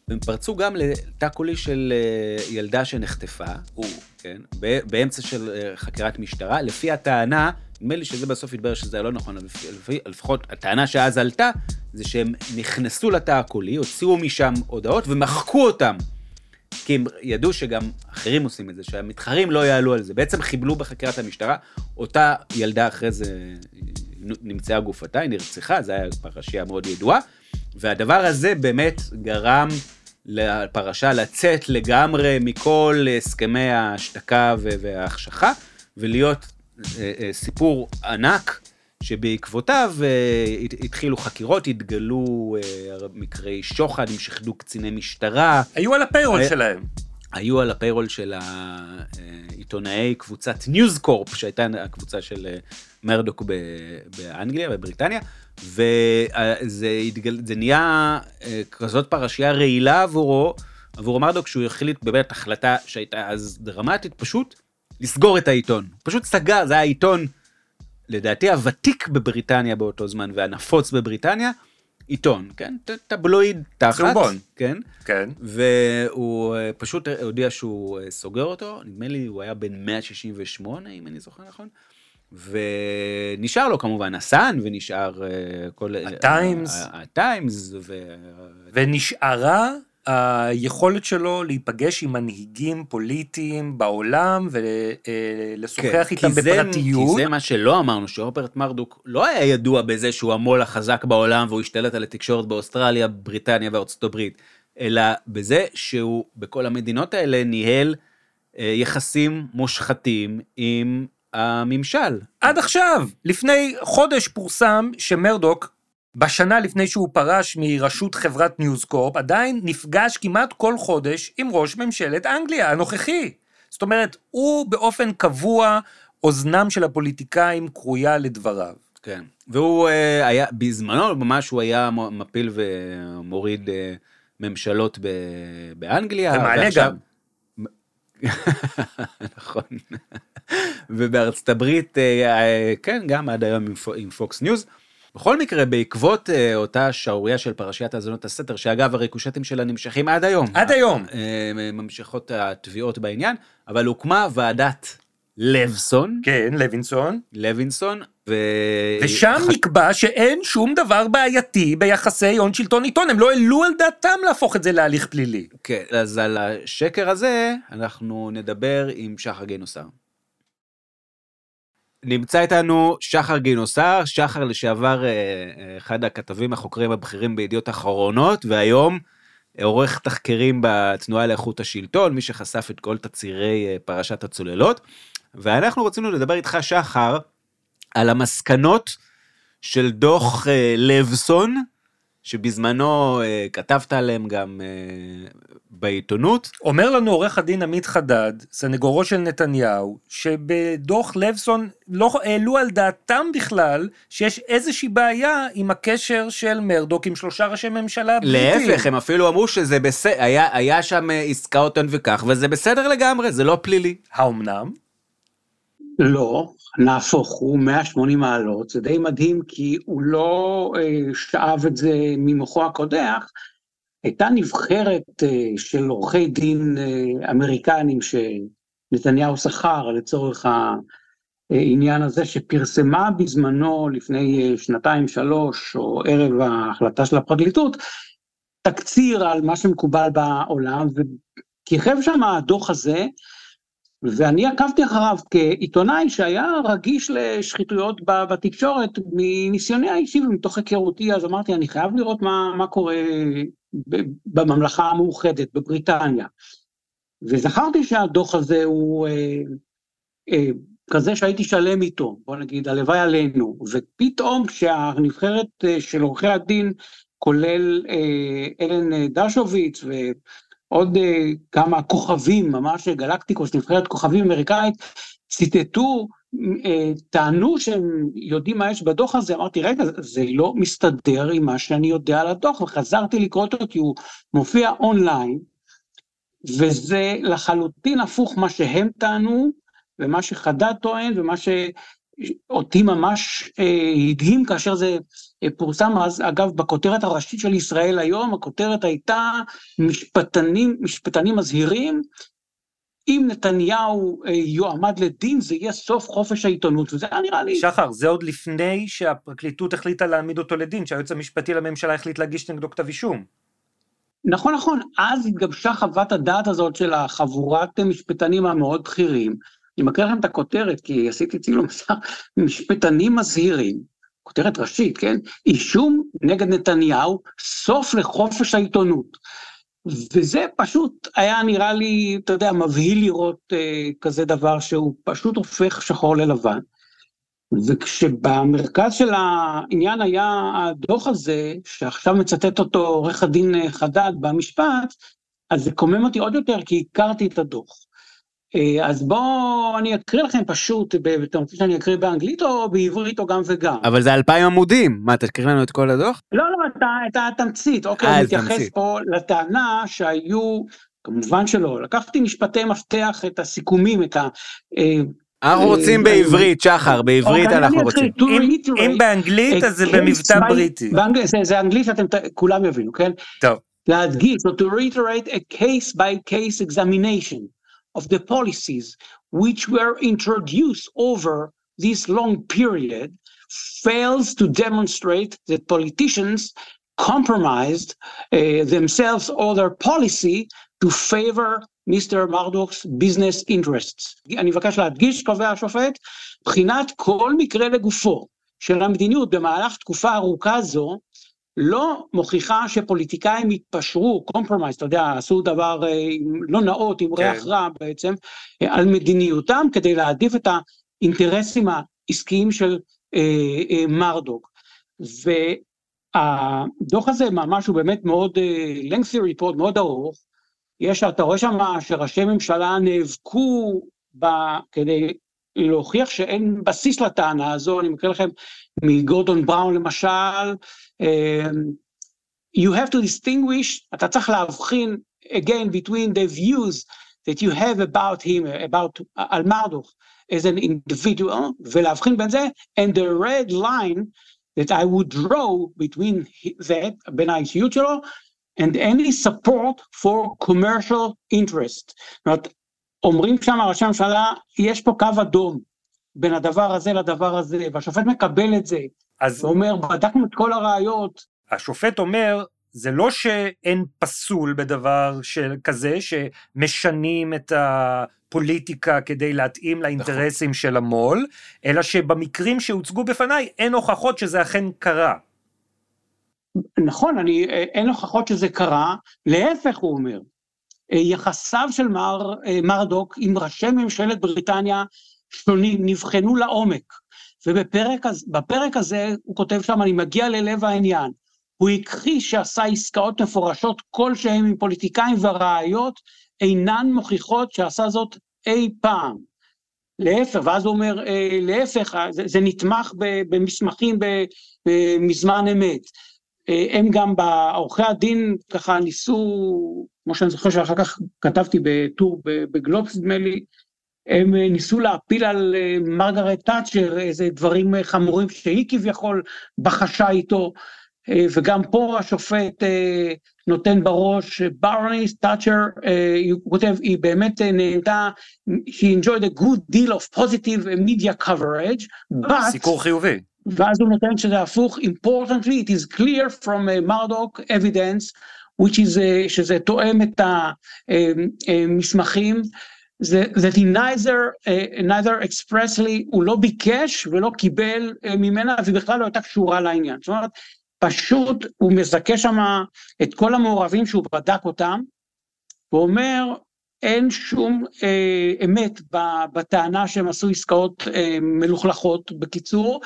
Speaker 4: הם פרצו גם לתא קולי של אה, ילדה שנחטפה. כן, ב- באמצע של אה, חקירת משטרה, לפי הטענה, נדמה לי שזה בסוף התברר שזה היה לא נכון, אבל לפי- לפי- לפחות הטענה שאז עלתה, זה שהם נכנסו לתא הקולי, הוציאו משם הודעות ומחקו אותם. כי הם ידעו שגם אחרים עושים את זה, שהמתחרים לא יעלו על זה. בעצם חיבלו בחקירת המשטרה, אותה ילדה אחרי זה אה, נמצאה גופתה, היא נרצחה, זו הייתה פרשייה מאוד ידועה, והדבר הזה באמת גרם לפרשה לצאת לגמרי מכל הסכמי ההשתקה ו- וההחשכה, ולהיות אה, אה, סיפור ענק. שבעקבותיו אה, הת- התחילו חקירות, התגלו אה, מקרי שוחד, הם שחדו קציני משטרה,
Speaker 1: היו על הפיירול
Speaker 4: אה,
Speaker 1: שלהם.
Speaker 4: היו על הפיירול של העיתונאי קבוצת ניוז קורפ, שהייתה הקבוצה של אה, מרדוק ב- באנגליה, בבריטניה, וזה התגל... זה נהיה אה, כזאת פרשייה רעילה עבורו, עבור מרדוק, שהוא החליט באמת החלטה שהייתה אז דרמטית, פשוט לסגור את העיתון. פשוט סגר, זה היה העיתון, לדעתי הוותיק בבריטניה באותו זמן והנפוץ בבריטניה, עיתון, כן? ט- טבלואיד תחת.
Speaker 1: צהובון.
Speaker 4: כן.
Speaker 1: כן.
Speaker 4: והוא אה, פשוט הודיע שהוא אה, סוגר אותו, נדמה לי הוא היה בן 168 אם אני זוכר נכון. ונשאר לו כמובן הסאן ונשאר אה, כל...
Speaker 1: הטיימס.
Speaker 4: ה- ה- הטיימס ו...
Speaker 1: ונשארה היכולת שלו להיפגש עם מנהיגים פוליטיים בעולם ולשוחח
Speaker 4: כן,
Speaker 1: איתם
Speaker 4: כי זה-
Speaker 1: בפרטיות.
Speaker 4: כי זה מה שלא אמרנו, שרוברט מרדוק לא היה ידוע בזה שהוא המו"ל החזק בעולם והוא השתלט על התקשורת באוסטרליה, בריטניה וארצות הברית, אלא בזה שהוא בכל המדינות האלה ניהל אה, יחסים מושחתים עם הממשל.
Speaker 1: עד עכשיו, לפני חודש פורסם שמרדוק, בשנה לפני שהוא פרש מראשות חברת ניוזקורפ, עדיין נפגש כמעט כל חודש עם ראש ממשלת אנגליה הנוכחי. זאת אומרת, הוא באופן קבוע, אוזנם של הפוליטיקאים כרויה לדבריו.
Speaker 4: כן. והוא אה, היה, בזמנו ממש הוא היה מ- מפיל ומוריד אה, ממשלות ב- באנגליה.
Speaker 1: ומעלה
Speaker 4: ועכשיו-
Speaker 1: גם.
Speaker 4: נכון. ובארצות הברית, אה, אה, כן, גם עד היום עם, פו- עם פוקס ניוז. בכל מקרה, בעקבות אה, אותה שערורייה של פרשיית האזנות הסתר, שאגב, הריקושטים שלה נמשכים עד היום.
Speaker 1: עד היום.
Speaker 4: אה, ממשיכות התביעות בעניין, אבל הוקמה ועדת לבסון,
Speaker 1: כן, לוינסון.
Speaker 4: לוינסון, ו...
Speaker 1: אה, ושם נקבע שאין שום דבר בעייתי ביחסי הון שלטון עיתון, הם לא העלו על דעתם להפוך את זה להליך פלילי.
Speaker 4: כן, אז על השקר הזה אנחנו נדבר עם שחר גינוסר. נמצא איתנו שחר גינוסר, שחר לשעבר אה, אה, אחד הכתבים החוקרים הבכירים בידיעות אחרונות, והיום עורך תחקירים בתנועה לאיכות השלטון, מי שחשף את כל תצהירי אה, פרשת הצוללות. ואנחנו רצינו לדבר איתך, שחר, על המסקנות של דוח אה, לבסון, שבזמנו אה, כתבת עליהם גם אה, בעיתונות.
Speaker 1: אומר לנו עורך הדין עמית חדד, סנגורו של נתניהו, שבדוח לבסון לא העלו על דעתם בכלל שיש איזושהי בעיה עם הקשר של מרדוק עם שלושה ראשי ממשלה בריטים.
Speaker 4: להפך, הם אפילו אמרו שזה בסדר, היה, היה שם אה, עסקאות הון וכך, וזה בסדר לגמרי, זה לא פלילי.
Speaker 1: האומנם?
Speaker 11: לא, נהפוך הוא 180 מעלות, זה די מדהים כי הוא לא אה, שאב את זה ממוחו הקודח. הייתה נבחרת אה, של עורכי דין אה, אמריקנים שנתניהו שכר לצורך העניין הזה, שפרסמה בזמנו לפני אה, שנתיים-שלוש, או ערב ההחלטה של הפרקליטות, תקציר על מה שמקובל בעולם, וכיכב שם הדוח הזה, ואני עקבתי אחריו כעיתונאי שהיה רגיש לשחיתויות ב- בתקשורת, מניסיוני האישי ומתוך היכרותי, אז אמרתי, אני חייב לראות מה, מה קורה ב- בממלכה המאוחדת, בבריטניה. וזכרתי שהדוח הזה הוא אה, אה, כזה שהייתי שלם איתו, בוא נגיד, הלוואי עלינו. ופתאום כשהנבחרת אה, של עורכי הדין, כולל אה, אלן אה, דשוביץ ו... עוד אה, כמה כוכבים, ממש אה, גלקטיקוס, נבחרת כוכבים אמריקאית, ציטטו, אה, טענו שהם יודעים מה יש בדוח הזה, אמרתי, רגע, זה לא מסתדר עם מה שאני יודע על הדוח, וחזרתי לקרוא אותו כי הוא מופיע אונליין, וזה לחלוטין הפוך מה שהם טענו, ומה שחדד טוען, ומה שאותי ממש אה, הדהים כאשר זה אה, פורסם אז, אגב, בכותרת הראשית של ישראל היום, הכותרת הייתה משפטנים, משפטנים מזהירים, אם נתניהו אה, יועמד לדין, זה יהיה סוף חופש העיתונות, וזה היה נראה לי...
Speaker 1: שחר, זה עוד לפני שהפרקליטות החליטה להעמיד אותו לדין, שהיועץ המשפטי לממשלה החליט להגיש נגדו כתב אישום.
Speaker 11: נכון, נכון, אז התגבשה חוות הדעת הזאת של החבורת משפטנים המאוד בכירים. אני מקריא לכם את הכותרת, כי עשיתי צילום מסך, משפטנים מזהירים, כותרת ראשית, כן? אישום נגד נתניהו, סוף לחופש העיתונות. וזה פשוט היה נראה לי, אתה יודע, מבהיל לראות אה, כזה דבר שהוא פשוט הופך שחור ללבן. וכשבמרכז של העניין היה הדוח הזה, שעכשיו מצטט אותו עורך הדין אה, חדד במשפט, אז זה קומם אותי עוד יותר, כי הכרתי את הדוח. אה, אז בואו אני אקריא לכם פשוט, ב- אתם רוצים שאני אקריא באנגלית או בעברית או גם וגם?
Speaker 4: אבל זה אלפיים עמודים. מה, תקריא לנו את כל הדוח?
Speaker 11: לא, לא, את ה- את התמצית, אוקיי,
Speaker 4: אה,
Speaker 11: אני
Speaker 4: את
Speaker 11: מתייחס
Speaker 4: התמצית.
Speaker 11: פה לטענה שהיו כמובן שלא. לקחתי משפטי מפתח, את הסיכומים, את ה... אה,
Speaker 4: אנחנו רוצים בעברית, שחר, בעברית
Speaker 11: אוקיי, אני
Speaker 4: אנחנו
Speaker 11: אתחיל.
Speaker 4: רוצים.
Speaker 11: To
Speaker 1: אם-
Speaker 11: reiterate,
Speaker 1: אם באנגלית, אז זה
Speaker 11: a case
Speaker 1: במבטא
Speaker 11: by-
Speaker 1: בריטי.
Speaker 11: באנגלית- זה- זה אנגלית, אתם ת- כולם יבינו, כן?
Speaker 1: טוב.
Speaker 11: להדגיש, so to reiterate a case by case examination of the policies which were introduced over this long period fails to demonstrate that politicians compromised uh, themselves or their policy to favor מיסטר מרדוקס ביזנס אינטרסטס. אני מבקש להדגיש, קובע השופט, בחינת כל מקרה לגופו של המדיניות במהלך תקופה ארוכה זו, לא מוכיחה שפוליטיקאים התפשרו, קומפרומייז, אתה יודע, עשו דבר אה, לא נאות, עם ריח
Speaker 1: כן.
Speaker 11: רע בעצם, אה, על מדיניותם כדי להעדיף את האינטרסים העסקיים של אה, אה, מרדוק. והדוח הזה ממש הוא באמת מאוד אה, lengthy report, מאוד ארוך, יש, אתה רואה שם שראשי ממשלה נאבקו ב, כדי להוכיח שאין בסיס לטענה הזו, אני מקריא לכם מגורדון בראון למשל, אמ, you have to distinguish, אתה צריך להבחין again between the views that you have about him, about, על מרדוך as an individual, ולהבחין בין זה, and the red line that I would draw between that, בין האישיות שלו, and any support for commercial interest. זאת אומרת, אומרים שם ראשי הממשלה, יש פה קו אדום בין הדבר הזה לדבר הזה, והשופט מקבל את זה,
Speaker 1: אז
Speaker 11: ואומר, בדקנו את כל הראיות,
Speaker 1: השופט אומר, זה לא שאין פסול בדבר של כזה שמשנים את הפוליטיקה כדי
Speaker 4: נכון.
Speaker 1: להתאים לאינטרסים של המו"ל, אלא שבמקרים שהוצגו בפניי אין הוכחות שזה אכן קרה.
Speaker 11: נכון, אני, אה, אין הוכחות שזה קרה, להפך הוא אומר. אה, יחסיו של מר, אה, מרדוק עם ראשי ממשלת בריטניה שונים נבחנו לעומק, ובפרק הז- בפרק הזה הוא כותב שם, אני מגיע ללב העניין. הוא הכחיש שעשה עסקאות מפורשות כלשהן עם פוליטיקאים והראיות אינן מוכיחות שעשה זאת אי פעם. להפך, ואז הוא אומר, אה, להפך, אה, זה, זה נתמך ב- במסמכים ב- בזמן אמת. אה, הם גם, ב- עורכי הדין ככה ניסו, כמו שאני זוכר שאחר כך כתבתי בטור ב- בגלובס נדמה לי, הם אה, ניסו להפיל על אה, מרגרט תאצ'ר איזה דברים אה, חמורים שהיא כביכול בחשה איתו, אה, וגם פה השופט אה, נותן בראש, ברניס תאצ'ר, אה, הוא כותב, היא באמת אה, נהנתה, she enjoyed a good deal of positive media coverage, but...
Speaker 1: סיקור חיובי.
Speaker 11: ואז הוא נותן שזה הפוך, importantly, it is clear from uh, Murdoch evidence, which is, uh, שזה תואם את um, המסמכים, that he neither, uh, neither expressly, הוא לא ביקש ולא קיבל uh, ממנה, והיא בכלל לא הייתה קשורה לעניין. זאת אומרת, פשוט הוא מזכה שם את כל המעורבים שהוא בדק אותם, ואומר, אין שום אה, אמת ב- בטענה שהם עשו עסקאות אה, מלוכלכות, בקיצור,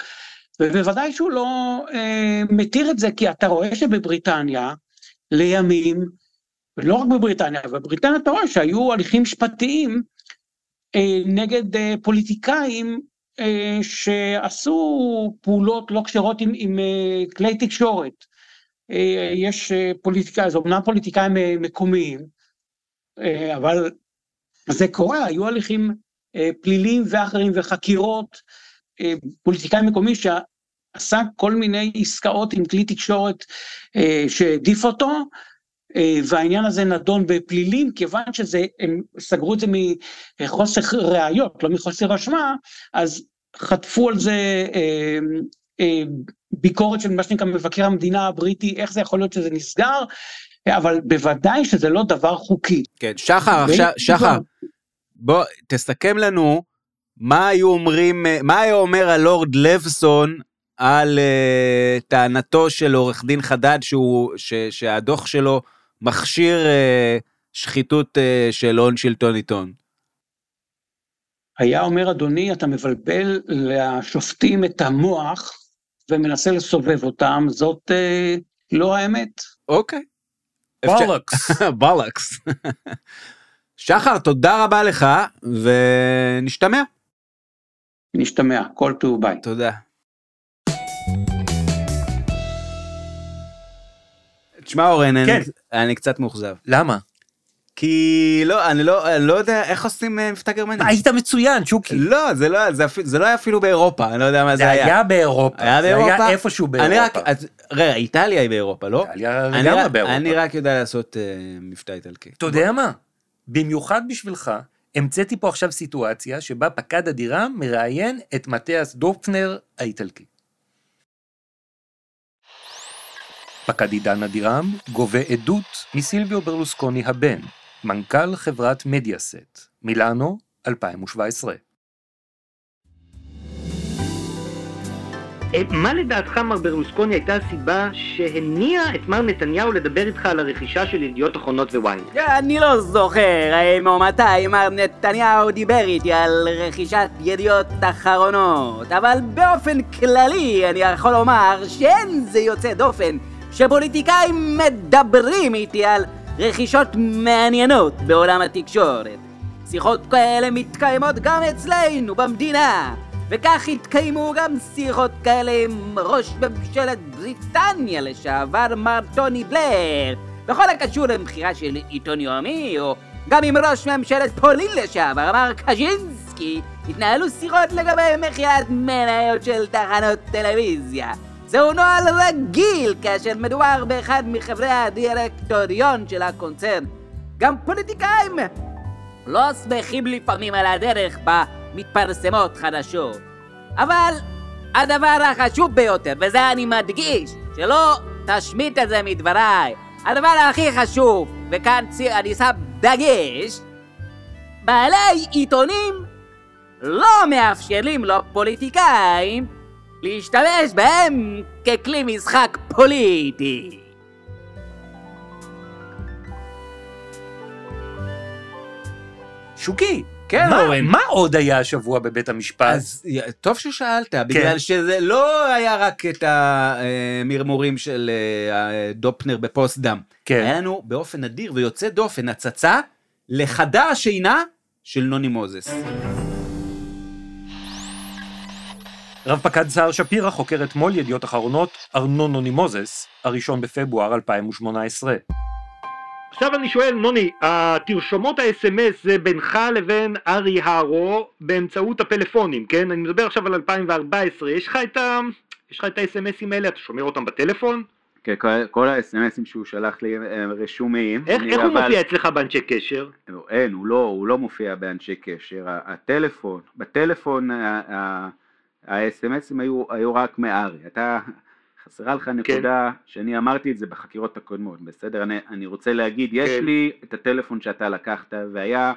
Speaker 11: ובוודאי שהוא לא אה, מתיר את זה, כי אתה רואה שבבריטניה, לימים, ולא רק בבריטניה, אבל בבריטניה אתה רואה שהיו הליכים משפטיים אה, נגד אה, פוליטיקאים אה, שעשו פעולות לא כשרות עם, עם אה, כלי תקשורת. אה, יש אה, פוליטיקאים, זה אומנם פוליטיקאים אה, מקומיים, אה, אבל זה קורה, היו הליכים אה, פליליים ואחרים וחקירות, אה, פוליטיקאי מקומי שעשה כל מיני עסקאות עם כלי תקשורת אה, שהעדיף אותו, אה, והעניין הזה נדון בפלילים, כיוון שזה, הם סגרו את זה מחוסר ראיות, לא מחוסר אשמה, אז חטפו על זה אה, אה, ביקורת של מה שנקרא מבקר המדינה הבריטי, איך זה יכול להיות שזה נסגר, אה, אבל בוודאי שזה לא דבר חוקי. לא
Speaker 4: כן, שחר, עכשיו,
Speaker 11: ואם
Speaker 4: שחר,
Speaker 11: כבר-
Speaker 4: בוא, תסכם לנו מה היו אומרים, אה, מה היה אומר הלורד לבסון על uh, טענתו של עורך דין חדד שהוא, ש, שהדוח שלו מכשיר uh, שחיתות uh, של הון שלטון עיתון.
Speaker 11: היה אומר, אדוני, אתה מבלבל לשופטים את המוח ומנסה לסובב אותם, זאת אה, לא האמת.
Speaker 4: אוקיי. אפשר-
Speaker 1: וואלקס.
Speaker 4: בלקס. שחר, תודה רבה לך, ונשתמע.
Speaker 11: נשתמע, כל טוב ביי.
Speaker 4: תודה. תשמע, אורן, אני-
Speaker 1: כן.
Speaker 4: אני קצת מאוכזב.
Speaker 1: למה?
Speaker 4: כי לא, אני לא, אני לא יודע איך עושים אה, מבטא גרמני.
Speaker 1: היית מצוין, שוקי.
Speaker 4: לא, זה לא, זה, אפילו, זה לא היה אפילו באירופה, אני לא יודע מה
Speaker 1: זה היה באירופה.
Speaker 4: היה באירופה?
Speaker 1: זה היה איפשהו
Speaker 4: אני רק,
Speaker 1: באירופה.
Speaker 4: אז, רגע, איטליה היא באירופה, לא?
Speaker 1: איטליה
Speaker 4: אני
Speaker 1: לגמרי
Speaker 4: רק-
Speaker 1: באירופה.
Speaker 4: אני רק יודע לעשות אה, מבטא איטלקי.
Speaker 1: אתה יודע מה? במיוחד בשבילך, המצאתי פה עכשיו סיטואציה שבה פקד הדירה מראיין את מתיאס דופנר האיטלקי. פקד עידן אדירם גובה עדות מסילביו ברלוסקוני הבן, מנכ"ל חברת מדיאסט, מילאנו, 2017.
Speaker 2: אה, מה לדעתך, מר ברלוסקוני, הייתה הסיבה שהניעה את מר נתניהו לדבר איתך על הרכישה של ידיעות אחרונות וויינט?
Speaker 12: אני לא זוכר האם או מתי מר נתניהו דיבר איתי על רכישת ידיעות אחרונות, אבל באופן כללי אני יכול לומר שאין זה יוצא דופן שפוליטיקאים מדברים איתי על רכישות מעניינות בעולם התקשורת. שיחות כאלה מתקיימות גם אצלנו במדינה, וכך התקיימו גם שיחות כאלה עם ראש ממשלת בריטניה לשעבר מר טוני בלר, בכל הקשור למכירה של עיתון יומי, או גם עם ראש ממשלת פולין לשעבר מר קז'ינסקי, התנהלו שיחות לגבי מכירת מניות של תחנות טלוויזיה. זהו נוהל רגיל כאשר מדובר באחד מחברי הדירקטוריון של הקונצרן. גם פוליטיקאים לא שמחים לפעמים על הדרך בה מתפרסמות חדשות. אבל הדבר החשוב ביותר, וזה אני מדגיש, שלא תשמיט את זה מדבריי, הדבר הכי חשוב, וכאן צי- אני שם דגש, בעלי עיתונים לא מאפשרים לפוליטיקאים להשתמש בהם ככלי משחק פוליטי.
Speaker 1: שוקי,
Speaker 4: כן,
Speaker 1: מה-
Speaker 4: אורן.
Speaker 1: מה עוד היה השבוע בבית המשפט?
Speaker 4: אז טוב ששאלת,
Speaker 1: כן.
Speaker 4: בגלל שזה לא היה רק את המרמורים של אה, הדופנר בפוסט-דם.
Speaker 1: כן.
Speaker 4: היה לנו באופן אדיר ויוצא דופן הצצה לחדה השינה של נוני מוזס.
Speaker 1: רב פקד סער שפירא חוקר אתמול ידיעות אחרונות, ארנון נוני מוזס, הראשון בפברואר 2018.
Speaker 2: עכשיו אני שואל, נוני, התרשומות האס.אם.אס זה בינך לבין ארי הרו באמצעות הפלאפונים, כן? אני מדבר עכשיו על 2014, יש לך את ה... יש לך את האס.אם.אסים האלה, אתה שומר אותם בטלפון?
Speaker 6: כן, כל- כל האס.אם.אסים שהוא שלח לי הם רשומים.
Speaker 2: איך,
Speaker 6: אני לא
Speaker 2: איך הוא
Speaker 6: אבל-
Speaker 2: מופיע אצלך באנשי קשר?
Speaker 6: לא, אין, הוא לא, הוא לא מופיע באנשי קשר, ה- הטלפון, בטלפון ה- ה- האס.אם.אסים היו, היו רק מארי, אתה, חסרה
Speaker 2: כן.
Speaker 6: לך נקודה שאני אמרתי את זה בחקירות הקודמות, בסדר, אני, אני רוצה להגיד, יש
Speaker 2: כן.
Speaker 6: לי את הטלפון שאתה לקחת והיה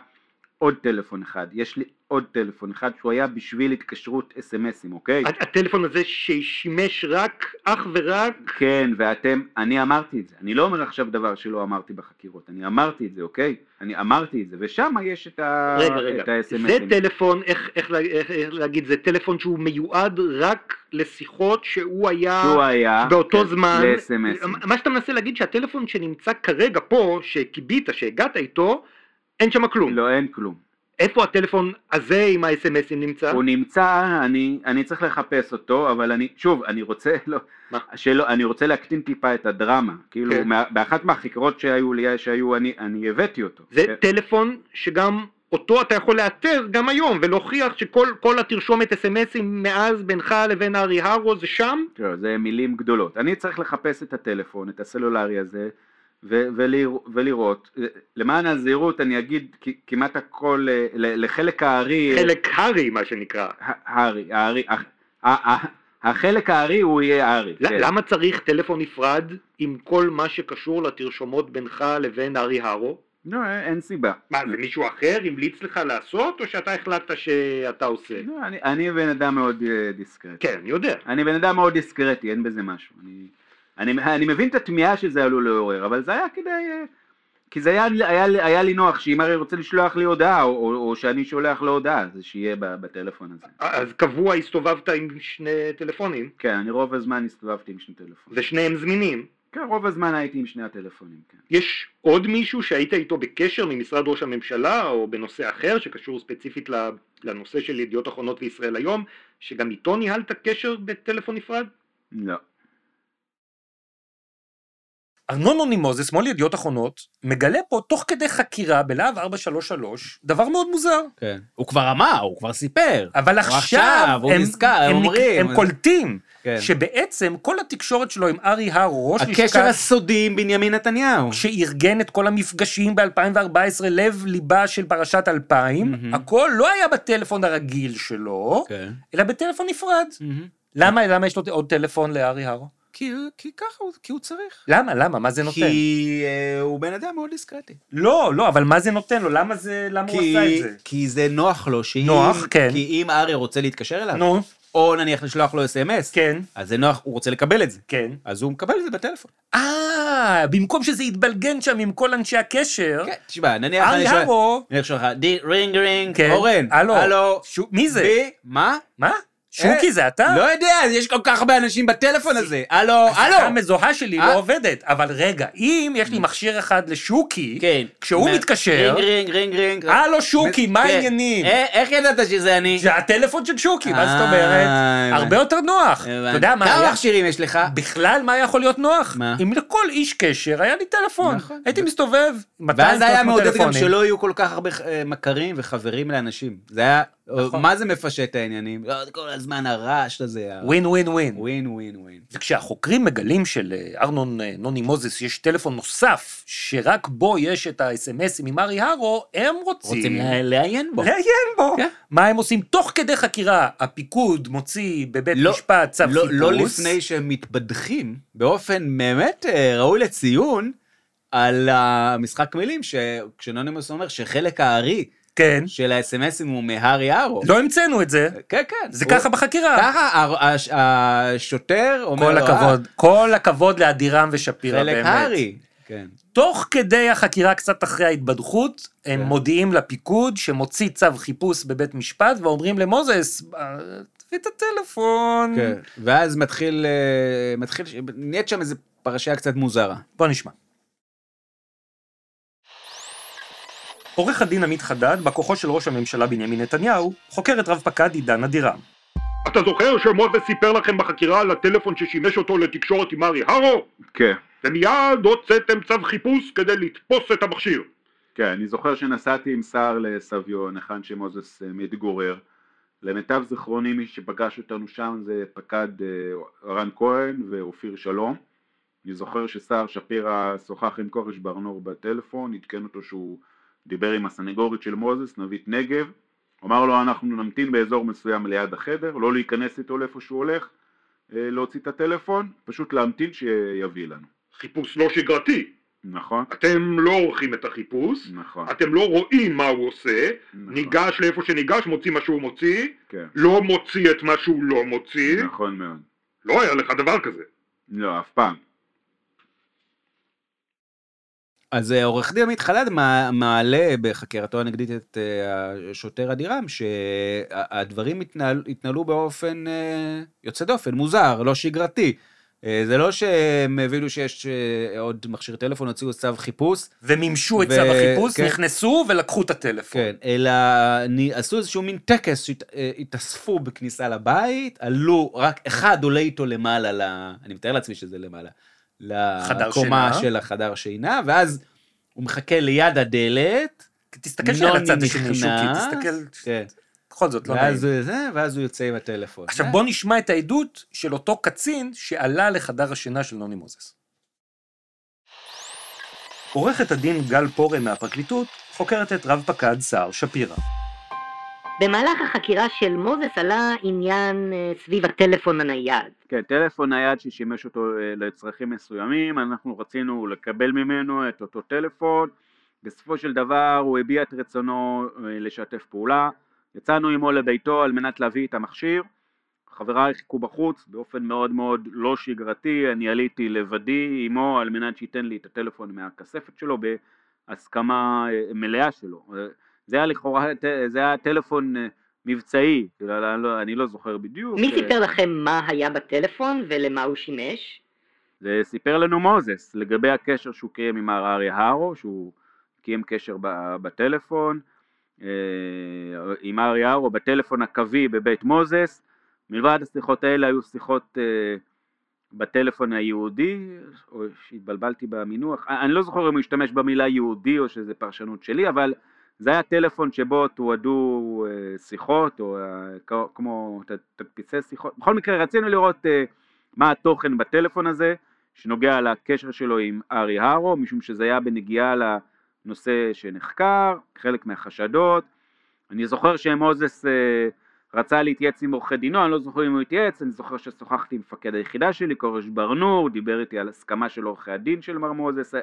Speaker 6: עוד טלפון אחד, יש לי עוד טלפון אחד שהוא היה בשביל התקשרות אס.אם.אסים, אוקיי?
Speaker 2: הט- הטלפון הזה ששימש רק, אך ורק...
Speaker 6: כן, ואתם, אני אמרתי את זה, אני לא אומר עכשיו דבר שלא אמרתי בחקירות, אני אמרתי את זה, אוקיי? אני אמרתי את זה, ושם יש את ה...
Speaker 2: רגע, רגע,
Speaker 6: את ה-SMS.
Speaker 2: זה טלפון, איך, איך, לה- איך, איך להגיד, זה טלפון שהוא מיועד רק לשיחות שהוא היה...
Speaker 6: שהוא היה
Speaker 2: אה, באותו
Speaker 6: כן,
Speaker 2: זמן,
Speaker 6: ל-SMS.
Speaker 2: מה שאתה מנסה להגיד שהטלפון שנמצא כרגע פה, שכיבית, שהגעת איתו, אין שם כלום.
Speaker 6: לא, אין כלום.
Speaker 2: איפה הטלפון הזה עם האס.אם.אסים נמצא?
Speaker 6: הוא נמצא, אני, אני צריך לחפש אותו, אבל אני, שוב, אני רוצה, לא,
Speaker 2: מה?
Speaker 6: שלא, אני רוצה להקטין טיפה את הדרמה. כאילו,
Speaker 2: כן.
Speaker 6: מה, באחת מהחקירות שהיו לי, שהיו, אני, אני הבאתי אותו.
Speaker 2: זה
Speaker 6: כן.
Speaker 2: טלפון שגם אותו אתה יכול לאתר גם היום ולהוכיח שכל כל התרשומת אס.אם.אסים מאז בינך לבין ארי הרו זה שם?
Speaker 6: תראה, זה מילים גדולות. אני צריך לחפש את הטלפון, את הסלולרי הזה, ו- ולרא- ולראות. אה, למען הזהירות אני אגיד כ- כמעט הכל, אה, ל- לחלק הארי, אה,
Speaker 2: חלק הארי מה שנקרא.
Speaker 6: ה- הארי, הארי, הח- ה- ה- החלק הארי הוא יהיה הארי.
Speaker 2: ל-
Speaker 6: כן.
Speaker 2: למה צריך טלפון נפרד עם כל מה שקשור לתרשומות בינך לבין ארי הרו?
Speaker 6: לא, אין- אין סיבה.
Speaker 2: מה, זה מישהו אחר המליץ לך לעשות או שאתה החלטת שאתה עושה?
Speaker 6: לא, אני- אני בן אדם מאוד אה, דיסקרטי.
Speaker 2: כן, אני יודע.
Speaker 6: אני בן אדם מאוד דיסקרטי, אין בזה משהו. אני, אני, אני מבין את התמיהה שזה עלול לעורר, אבל זה היה כדי... אה, כי זה היה, היה, לי- היה לי נוח שאם הרי רוצה לשלוח לי הודעה, או, או, או שאני שולח לו הודעה, זה שיהיה ב- בטלפון הזה.
Speaker 2: אז קבוע הסתובבת עם שני טלפונים,
Speaker 6: כן, אני רוב הזמן הסתובבתי עם שני טלפונים.
Speaker 2: ושניהם זמינים.
Speaker 6: כן, רוב הזמן הייתי עם שני הטלפונים, כן.
Speaker 2: יש עוד מישהו שהיית איתו בקשר ממשרד ראש הממשלה או בנושא אחר שקשור ספציפית ל- לנושא של ידיעות אחרונות וישראל היום, שגם איתו ניהלת קשר בטלפון נפרד?
Speaker 6: לא.
Speaker 1: ארנוני מוזס, מול ידיעות אחרונות, מגלה פה, תוך כדי חקירה בלהב 433, דבר מאוד מוזר.
Speaker 4: כן. הוא כבר אמר, הוא כבר סיפר.
Speaker 1: אבל עכשיו,
Speaker 4: עכשיו, הוא
Speaker 1: הם,
Speaker 4: נזכר, הם
Speaker 1: הם, נק-
Speaker 4: אומרים.
Speaker 1: הם קולטים
Speaker 4: כן.
Speaker 1: שבעצם כל התקשורת שלו עם ארי הר, ראש
Speaker 4: הקשר
Speaker 1: לשכת,
Speaker 4: הסודי עם בנימין נתניהו.
Speaker 1: שארגן את כל המפגשים ב-2014, לב-ליבה של פרשת 2000,
Speaker 4: מהמם.
Speaker 1: הכל לא היה בטלפון הרגיל שלו,
Speaker 4: כן.
Speaker 1: אלא בטלפון נפרד.
Speaker 4: מהמם.
Speaker 1: למה, למה יש לו עוד טלפון לארי הרו?
Speaker 4: כי כי ככה, הוא- כי הוא צריך.
Speaker 1: למה, למה, מה זה נותן?
Speaker 4: כי אה, הוא בן אדם מאוד דיסקרטי.
Speaker 1: לא, לא, אבל מה זה נותן לו? למה זה, למה הוא
Speaker 4: כי-
Speaker 1: עשה את זה?
Speaker 4: כי זה נוח לו, שאם...
Speaker 1: נוח, כן.
Speaker 4: כי אם אריה רוצה להתקשר אליו,
Speaker 1: נו,
Speaker 4: או נניח לשלוח לו אס.אם.אס,
Speaker 1: כן,
Speaker 4: אז זה נוח, הוא רוצה לקבל את זה.
Speaker 1: כן.
Speaker 4: אז הוא מקבל את זה בטלפון.
Speaker 1: אה, במקום שזה יתבלגן שם עם כל אנשי הקשר,
Speaker 4: כן, תשמע, נניח... אני
Speaker 1: ארי
Speaker 4: שואל-
Speaker 1: הרו,
Speaker 4: נניח שלך, די, רינג רינג,
Speaker 1: כן,
Speaker 4: אורן,
Speaker 1: הלו,
Speaker 4: הלו,
Speaker 1: שו- מי זה?
Speaker 4: בי, מה?
Speaker 1: מה? שוקי זה אתה?
Speaker 4: לא יודע, אז יש כל כך הרבה אנשים בטלפון הזה. הלו,
Speaker 1: השיחה
Speaker 4: הלו.
Speaker 1: המזוהה שלי
Speaker 4: אה?
Speaker 1: לא עובדת, אבל רגע, אם יש לי מכשיר אחד לשוקי,
Speaker 4: כן.
Speaker 1: כשהוא
Speaker 4: מה-
Speaker 1: מתקשר,
Speaker 4: רינג רינג רינג רינג.
Speaker 1: הלו שוקי, מה
Speaker 4: כן.
Speaker 1: העניינים?
Speaker 4: אה, איך ידעת שזה אני?
Speaker 1: זה הטלפון של שוקי, מה זאת
Speaker 4: אה,
Speaker 1: אומרת?
Speaker 4: הבנתי.
Speaker 1: הרבה יותר נוח. אתה יודע מה
Speaker 4: כמה
Speaker 1: היה?
Speaker 4: מכשירים יש לך?
Speaker 1: בכלל, מה יכול להיות נוח?
Speaker 4: מה?
Speaker 1: אם לכל איש קשר היה לי טלפון.
Speaker 4: נכון.
Speaker 1: הייתי מסתובב, 200
Speaker 4: ואז היה מעודד גם
Speaker 1: טלפונים.
Speaker 4: שלא יהיו כל כך הרבה אה, מכרים וחברים לאנשים. זה היה,
Speaker 1: נכון.
Speaker 4: מה זה מפשט את העניינים? לא, כל הזמן הרעש הזה, ה-
Speaker 1: ווין ווין ווין.
Speaker 4: ווין ווין ווין.
Speaker 1: וכשהחוקרים מגלים שלארנון אה, נוני מוזס יש טלפון נוסף, שרק בו יש את האס.אם.אסים עם ארי הרו, הם רוצים...
Speaker 4: רוצים לה- לעיין בו.
Speaker 1: לעיין בו.
Speaker 4: כן.
Speaker 1: מה הם עושים תוך כדי חקירה? הפיקוד מוציא בבית
Speaker 4: לא-
Speaker 1: משפט צו
Speaker 4: לא-
Speaker 1: חיפוש.
Speaker 4: לא לפני שהם מתבדחים, באופן באמת אה, ראוי לציון, על המשחק מילים, שכשנונימוס אומר שחלק הארי
Speaker 1: כן.
Speaker 4: של האס.אם.אסים הוא מהארי ארו.
Speaker 1: לא המצאנו את זה.
Speaker 4: כן, כן.
Speaker 1: זה
Speaker 4: הוא-
Speaker 1: ככה בחקירה.
Speaker 4: ככה ה- הש- השוטר אומר
Speaker 1: כל
Speaker 4: לו, "אה,
Speaker 1: הכבוד, כל הכבוד לאדירם ושפירא
Speaker 4: חלק
Speaker 1: באמת.
Speaker 4: הארי. כן.
Speaker 1: תוך כדי החקירה, קצת אחרי ההתבדחות, הם
Speaker 4: כן.
Speaker 1: מודיעים לפיקוד שמוציא צו חיפוש בבית משפט, ואומרים למוזס, "אה, תביא את הטלפון.
Speaker 4: כן, ואז מתחיל, אה, מתחיל, ש- נהיית שם איזה פרשייה קצת מוזרה.
Speaker 1: בוא נשמע. עורך הדין עמית חדד, בא כוחו של ראש הממשלה בנימין נתניהו, חוקר את רב פקד עידן אדירם.
Speaker 2: אתה זוכר שמוזס סיפר לכם בחקירה על הטלפון ששימש אותו לתקשורת עם ארי הרו?
Speaker 6: כן,
Speaker 2: ומיד הוצאתם צו חיפוש כדי לתפוס את המכשיר.
Speaker 6: כן, אני זוכר שנסעתי עם סער לסביון, היכן שמוזס אה, מתגורר. למיטב זיכרוני מי שפגש אותנו שם זה פקד אה, רן כהן ואופיר שלום. אני זוכר שסער שפירא שוחח עם כורש ברנור בטלפון, עדכן אותו שהוא דיבר עם הסנגורית של מוזס, נבית נגב, אמר לו אנחנו נמתין באזור מסוים ליד החדר, לא להיכנס איתו לאיפה שהוא הולך, אה, להוציא את הטלפון, פשוט להמתין שיביא לנו.
Speaker 2: חיפוש לא שגרתי.
Speaker 6: נכון?
Speaker 2: אתם לא עורכים את החיפוש,
Speaker 6: נכון.
Speaker 2: אתם לא רואים מה הוא עושה,
Speaker 6: נכון.
Speaker 2: ניגש לאיפה שניגש, מוציא מה שהוא מוציא,
Speaker 6: כן.
Speaker 2: לא מוציא את מה שהוא לא מוציא,
Speaker 6: נכון מאוד.
Speaker 2: לא היה לך דבר כזה.
Speaker 6: לא, אף פעם.
Speaker 4: אז אה, עורך דין עמית חדד מע- מעלה בחקירתו הנגדית את אה, השוטר אדירם, שהדברים התנהל, התנהלו באופן אה, יוצא דופן, מוזר, לא שגרתי. אה, זה לא שהם הבינו שיש אה, עוד מכשיר טלפון, הוציאו צו חיפוש,
Speaker 1: ומימשו את
Speaker 4: ו-
Speaker 1: צו החיפוש,
Speaker 4: כן.
Speaker 1: נכנסו ולקחו את הטלפון.
Speaker 4: כן, אלא אני- עשו איזשהו מין טקס שהתאספו בכניסה לבית, עלו, רק אחד עולה איתו למעלה, ל... אני מתאר לעצמי שזה למעלה,
Speaker 1: חדר
Speaker 4: לקומה
Speaker 1: שינה.
Speaker 4: של החדר שינה, ואז הוא מחכה ליד הדלת,
Speaker 1: תסתכל שנייה על
Speaker 4: נוני
Speaker 1: הצד השני,
Speaker 4: לא נכנס.
Speaker 1: שוקי, תסתכל,
Speaker 4: כן,
Speaker 1: בכל זאת, לא נעים.
Speaker 4: ואז הוא זה, ואז הוא יוצא עם הטלפון.
Speaker 1: עכשיו
Speaker 4: אה,
Speaker 1: בוא נשמע את העדות של אותו קצין שעלה לחדר השינה של נוני מוזס. עורכת הדין גל פורם מהפרקליטות חוקרת את רב פקד סער שפירא.
Speaker 13: במהלך החקירה של מוזס עלה עניין אה, סביב הטלפון הנייד.
Speaker 6: כן, טלפון נייד ששימש אותו אה, לצרכים מסוימים, אנחנו רצינו לקבל ממנו את אותו טלפון, בסופו של דבר הוא הביע את רצונו אה, לשתף פעולה, יצאנו עמו לביתו על מנת להביא את המכשיר, חבריי חיכו בחוץ באופן מאוד מאוד לא שגרתי, אני עליתי לבדי עמו על מנת שייתן לי את הטלפון מהכספת שלו בהסכמה אה, מלאה שלו, אה, זה היה לכאורה, ט- זה היה טלפון אה, מבצעי, כאילו, אני לא- אני לא זוכר בדיוק.
Speaker 13: מי
Speaker 6: אה,
Speaker 13: סיפר לכם מה היה בטלפון ולמה הוא שימש?
Speaker 6: זה סיפר לנו מוזס לגבי הקשר שהוא קיים עם מר אריה הרו, שהוא קיים קשר ב- בטלפון אה, עם אריה הרו בטלפון הקווי בבית מוזס. מלבד השיחות האלה היו שיחות אה, בטלפון היהודי, או שהתבלבלתי במינוח, אני לא זוכר אם הוא השתמש במילה יהודי או שזה פרשנות שלי, אבל זה היה טלפון שבו תועדו אה, שיחות, או אה, כ- כמו ת- תדפיסי שיחות. בכל מקרה, רצינו לראות אה, מה התוכן בטלפון הזה, שנוגע לקשר שלו עם ארי הרו, משום שזה היה בנגיעה לנושא שנחקר, חלק מהחשדות. אני זוכר שמוזס אה, רצה להתייעץ עם עורכי דינו, אני לא זוכר אם הוא התייעץ, אני זוכר ששוחחתי עם מפקד היחידה שלי, כורש ברנור, דיבר איתי על הסכמה של עורכי הדין של מר מוזס,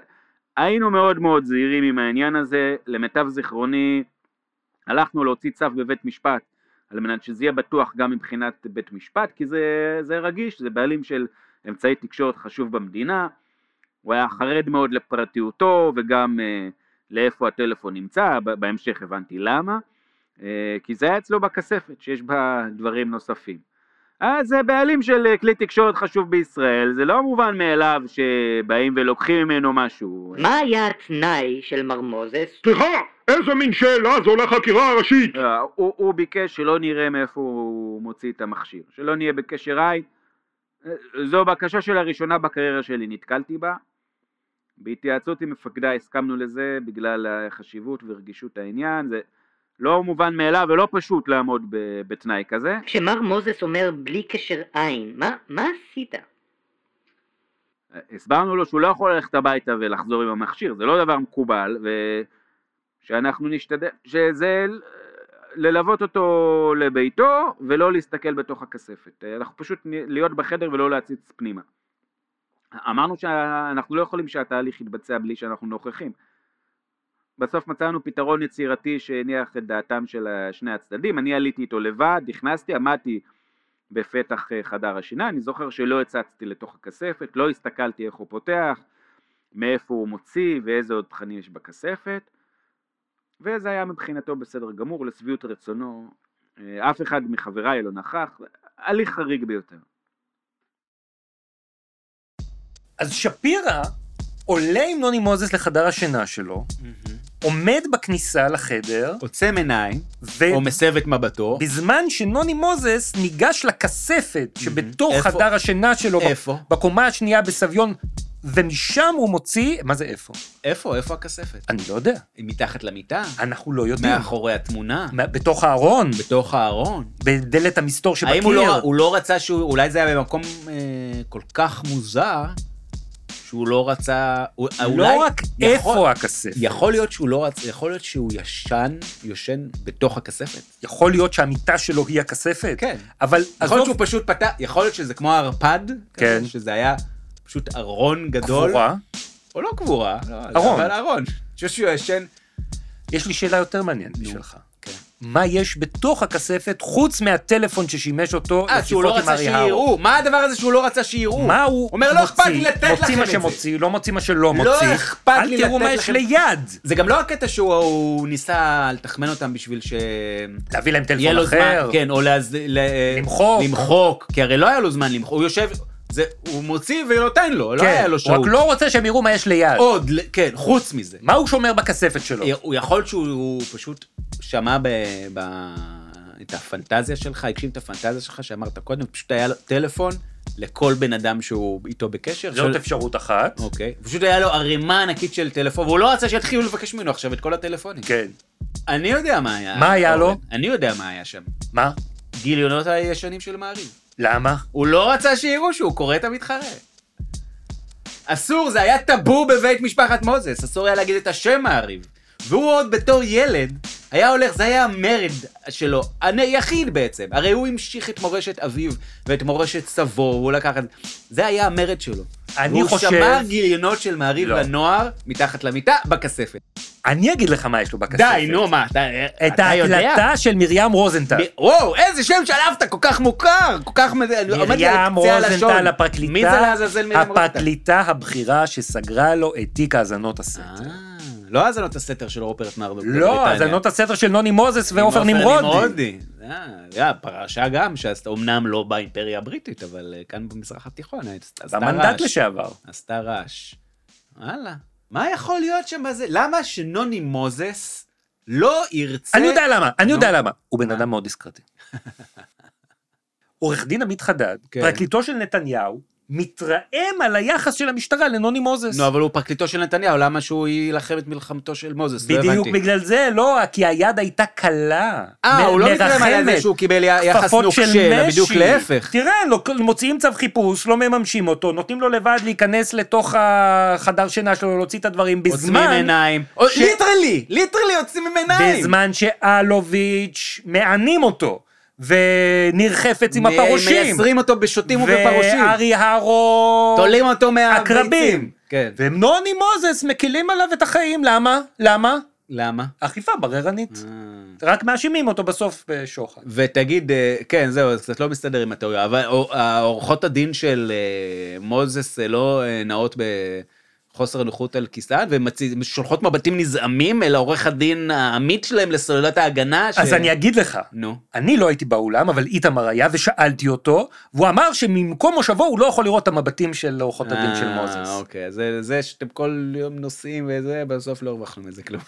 Speaker 6: היינו מאוד מאוד זהירים עם העניין הזה, למיטב זיכרוני הלכנו להוציא צו בבית משפט על מנת שזה יהיה בטוח גם מבחינת בית משפט, כי זה, זה רגיש, זה בעלים של אמצעי תקשורת חשוב במדינה, הוא היה חרד מאוד לפרטיותו וגם אה, לאיפה הטלפון נמצא, ב- בהמשך הבנתי למה, אה, כי זה היה אצלו בכספת שיש בה דברים נוספים. אז זה בעלים של אה, כלי תקשורת חשוב בישראל, זה לא מובן מאליו שבאים ולוקחים ממנו משהו.
Speaker 13: מה היה התנאי של מר מוזס?
Speaker 2: סליחה, איזה מין שאלה זו לא לחקירה הראשית?
Speaker 6: אה, הוא, הוא ביקש שלא נראה מאיפה הוא מוציא את המכשיר, שלא נהיה בקשר עין. אה, זו בקשה של הראשונה בקריירה שלי, נתקלתי בה. בהתייעצות עם מפקדה הסכמנו לזה בגלל החשיבות ורגישות העניין, זה לא מובן מאליו ולא פשוט לעמוד ב, בתנאי כזה.
Speaker 13: כשמר מוזס אומר בלי קשר עין, מה, מה עשית?
Speaker 6: אה, הסברנו לו שהוא לא יכול ללכת הביתה ולחזור עם המכשיר, זה לא דבר מקובל, ושאנחנו נשתדל, שזה ל- ללוות אותו לביתו ולא להסתכל בתוך הכספת. אה, אנחנו פשוט נ- להיות בחדר ולא להציץ פנימה. אמרנו שאנחנו לא יכולים שהתהליך יתבצע בלי שאנחנו נוכחים. בסוף מצאנו פתרון יצירתי שהניח את דעתם של אה, שני הצדדים, אני עליתי איתו לבד, נכנסתי, עמדתי בפתח אה, חדר השינה, אני זוכר שלא הצצתי לתוך הכספת, לא הסתכלתי איך הוא פותח, מאיפה הוא מוציא ואיזה עוד תכנים יש בכספת, וזה היה מבחינתו בסדר גמור, לשביעות רצונו, אה, אף אחד מחבריי לא נכח, הליך חריג ביותר.
Speaker 1: אז שפירא עולה עם נוני מוזס לחדר השינה שלו, עומד בכניסה לחדר,
Speaker 4: עוצם עיניים,
Speaker 1: ו...
Speaker 4: או מסב את מבטו.
Speaker 1: בזמן שנוני מוזס ניגש לכספת שבתוך
Speaker 4: איפה?
Speaker 1: חדר השינה שלו, בק-
Speaker 4: איפה?
Speaker 1: בקומה השנייה בסביון, ומשם הוא מוציא, מה זה איפה?
Speaker 4: איפה? איפה הכספת?
Speaker 1: אני לא יודע,
Speaker 4: היא מתחת למיטה?
Speaker 1: אנחנו לא יודעים.
Speaker 4: מאחורי התמונה?
Speaker 1: מה- בתוך הארון,
Speaker 4: בתוך הארון?
Speaker 1: בדלת המסתור שבקיר.
Speaker 4: האם הוא לא, הוא לא רצה שהוא, אולי זה היה במקום אה, כל כך מוזר, שהוא לא רצה, הוא, אולי...
Speaker 1: לא רק איפה הכספת,
Speaker 4: יכול להיות שהוא לא רצה, יכול להיות שהוא ישן, יושן בתוך הכספת.
Speaker 1: יכול להיות שהמיטה שלו היא הכספת,
Speaker 4: כן.
Speaker 1: אבל
Speaker 4: יכול להיות
Speaker 1: עזוב,
Speaker 4: שהוא פשוט פתח, יכול להיות שזה כמו ערפד, כזה,
Speaker 1: כן.
Speaker 4: שזה היה פשוט ארון גדול.
Speaker 1: קבורה.
Speaker 4: או לא קבורה, לא,
Speaker 1: ארון.
Speaker 4: אבל ארון. אני חושב שהוא ישן,
Speaker 1: יש לי שאלה יותר מעניינת בשבילך.
Speaker 4: כן.
Speaker 1: מה יש בתוך הכספת חוץ מהטלפון ששימש אותו
Speaker 4: אה, שהוא לא
Speaker 1: לשיחות עם
Speaker 4: רצה
Speaker 1: ארי הרו?
Speaker 4: שיראו, מה הדבר הזה שהוא לא רצה שיראו?
Speaker 1: מה הוא
Speaker 4: אומר, לא אכפת לי לתת לכם את זה.
Speaker 1: מוציא מה שמוציא, לא מוציא מה שלא מוציא.
Speaker 4: לא אכפת לי
Speaker 1: אל תראו
Speaker 4: לתת
Speaker 1: מה יש
Speaker 4: לכם.
Speaker 1: ליד.
Speaker 4: זה גם לא הקטע שהוא הוא ניסה לתחמן אותם בשביל ש...
Speaker 1: להביא להם
Speaker 4: יהיה
Speaker 1: טלפון
Speaker 4: לו זמן,
Speaker 1: אחר.
Speaker 4: כן, או להז... ל...
Speaker 1: למחוק.
Speaker 4: למחוק, כי הרי לא היה לו זמן למחוק, הוא יושב, זה, הוא מוציא ונותן לו, לא
Speaker 1: כן,
Speaker 4: היה לו
Speaker 1: הוא
Speaker 4: שעות.
Speaker 1: רק לא רוצה שהם יראו מה יש ליד.
Speaker 4: עוד, ל- כן, חוץ מזה.
Speaker 1: מה הוא שומר בכספת שלו?
Speaker 4: אה, הוא יכול שהוא פשוט שמע ב... ב... את הפנטזיה שלך, הגשים את הפנטזיה שלך שאמרת קודם, פשוט היה לו טלפון לכל בן אדם שהוא איתו בקשר.
Speaker 1: זאת
Speaker 4: של-
Speaker 1: אפשרות אחת.
Speaker 4: אוקיי. פשוט היה לו ערימה ענקית של טלפון, והוא לא רצה שיתחילו לבקש ממנו עכשיו את כל הטלפונים.
Speaker 1: כן.
Speaker 4: אני יודע מה היה.
Speaker 1: מה היה
Speaker 4: אורן.
Speaker 1: לו?
Speaker 4: אני יודע מה היה שם.
Speaker 1: מה?
Speaker 4: גיליונות הישנים של מעריב.
Speaker 1: למה?
Speaker 4: הוא לא רצה שיראו שהוא קורא את המתחרה. אסור, זה היה טאבו בבית משפחת מוזס, אסור היה להגיד את השם מעריב. והוא עוד בתור ילד, היה הולך, זה היה המרד שלו, היחיד בעצם. הרי הוא המשיך את מורשת אביו ואת מורשת סבו, הוא לקח את זה. זה היה המרד שלו.
Speaker 1: אני
Speaker 4: הוא
Speaker 1: חושב-
Speaker 4: שמר גיליונות של מעריב
Speaker 1: לא.
Speaker 4: לנוער, מתחת למיטה, בכספת.
Speaker 1: אני אגיד לך מה יש לו בכספת.
Speaker 4: די, נו, מה, אתה
Speaker 1: את
Speaker 4: אתה יודע?
Speaker 1: ההקלטה של מרים רוזנטל.
Speaker 4: מ- וואו, איזה שם שלפת, כל כך מוכר, כל כך... מזה- אני לא, עומד לי על
Speaker 1: מרים
Speaker 4: קצה הלשון.
Speaker 1: רוזנטל, הפרקליטה,
Speaker 4: מי זה לעזאזל מרים רוזנטל?
Speaker 1: הפרקליטה הבכירה שסגרה לו את תיק האזנות הסתר.
Speaker 4: אה, לא האזנות הסתר של רופרט נרדוק.
Speaker 1: לא, האזנות הסתר של נוני מוזס
Speaker 4: לא,
Speaker 1: ועופר נמרודי.
Speaker 4: אה, אה, פרשה גם, שאומנם לא באימפריה הבריטית, אבל אה, כאן במזרח התיכון, אה, עשתה עשתה
Speaker 1: במנדט
Speaker 4: רעש.
Speaker 1: לשעבר.
Speaker 4: עשתה רעש. וואלה. מה יכול להיות שם בזה? למה שנוני מוזס לא ירצה...
Speaker 1: אני יודע למה, אני יודע
Speaker 4: נו.
Speaker 1: למה. הוא בן אדם מאוד דיסקרטי. עורך דין עמית חדד,
Speaker 4: כן.
Speaker 1: פרקליטו של נתניהו, מתרעם על היחס של המשטרה לנוני מוזס.
Speaker 4: נו, אבל הוא פרקליטו של נתניהו, למה שהוא יילחם את מלחמתו של מוזס? לא
Speaker 1: בדיוק
Speaker 4: הבנתי.
Speaker 1: בגלל זה, לא, כי היד הייתה קלה.
Speaker 4: אה,
Speaker 1: מ-
Speaker 4: הוא לא מתרעם על
Speaker 1: מרחמת.
Speaker 4: זה שהוא קיבל י- יחס
Speaker 1: כפפות של
Speaker 4: נוקשה, אלא
Speaker 1: משי.
Speaker 4: בדיוק להפך.
Speaker 1: תראה, לא- מוציאים צו חיפוש, לא מממשים אותו, נותנים לו לבד להיכנס לתוך החדר שינה שלו, להוציא את הדברים
Speaker 4: עוצמים
Speaker 1: בזמן,
Speaker 4: עיניים.
Speaker 1: ש-
Speaker 4: ליטרלי, ליטרלי עוצמים עיניים.
Speaker 1: בזמן שאלוביץ' מענים אותו, ונרחפת עם
Speaker 4: מ-
Speaker 1: הפרושים.
Speaker 4: מייסרים אותו בשוטים ובפרושים.
Speaker 1: וארי הרו...
Speaker 4: תולים אותו מהביצים.
Speaker 1: עקרבים.
Speaker 4: כן.
Speaker 1: ונוני מוזס מקילים עליו את החיים, למה? למה?
Speaker 4: למה?
Speaker 1: אכיפה בררנית.
Speaker 4: Mm.
Speaker 1: רק מאשימים אותו בסוף בשוחד.
Speaker 4: ותגיד, אה, כן, זהו, אז קצת לא מסתדר עם התיאוריה, אבל אה, העורכות הדין של אה, מוזס אה, לא אה, נעות בחוסר נוחות על כיסן, והן מצי- שולחות מבטים נזעמים אל העורך הדין העמית שלהם לסוללת ההגנה. ש-
Speaker 1: אז אני אגיד לך,
Speaker 4: נו.
Speaker 1: אני לא הייתי באולם, אבל איתמר היה, ושאלתי אותו, והוא אמר שממקום מושבו הוא לא יכול לראות את המבטים של עורכות הדין של
Speaker 4: אה,
Speaker 1: מוזס.
Speaker 4: אוקיי, זה, זה שאתם כל יום נוסעים וזה, בסוף לא הרווחנו מזה כלום.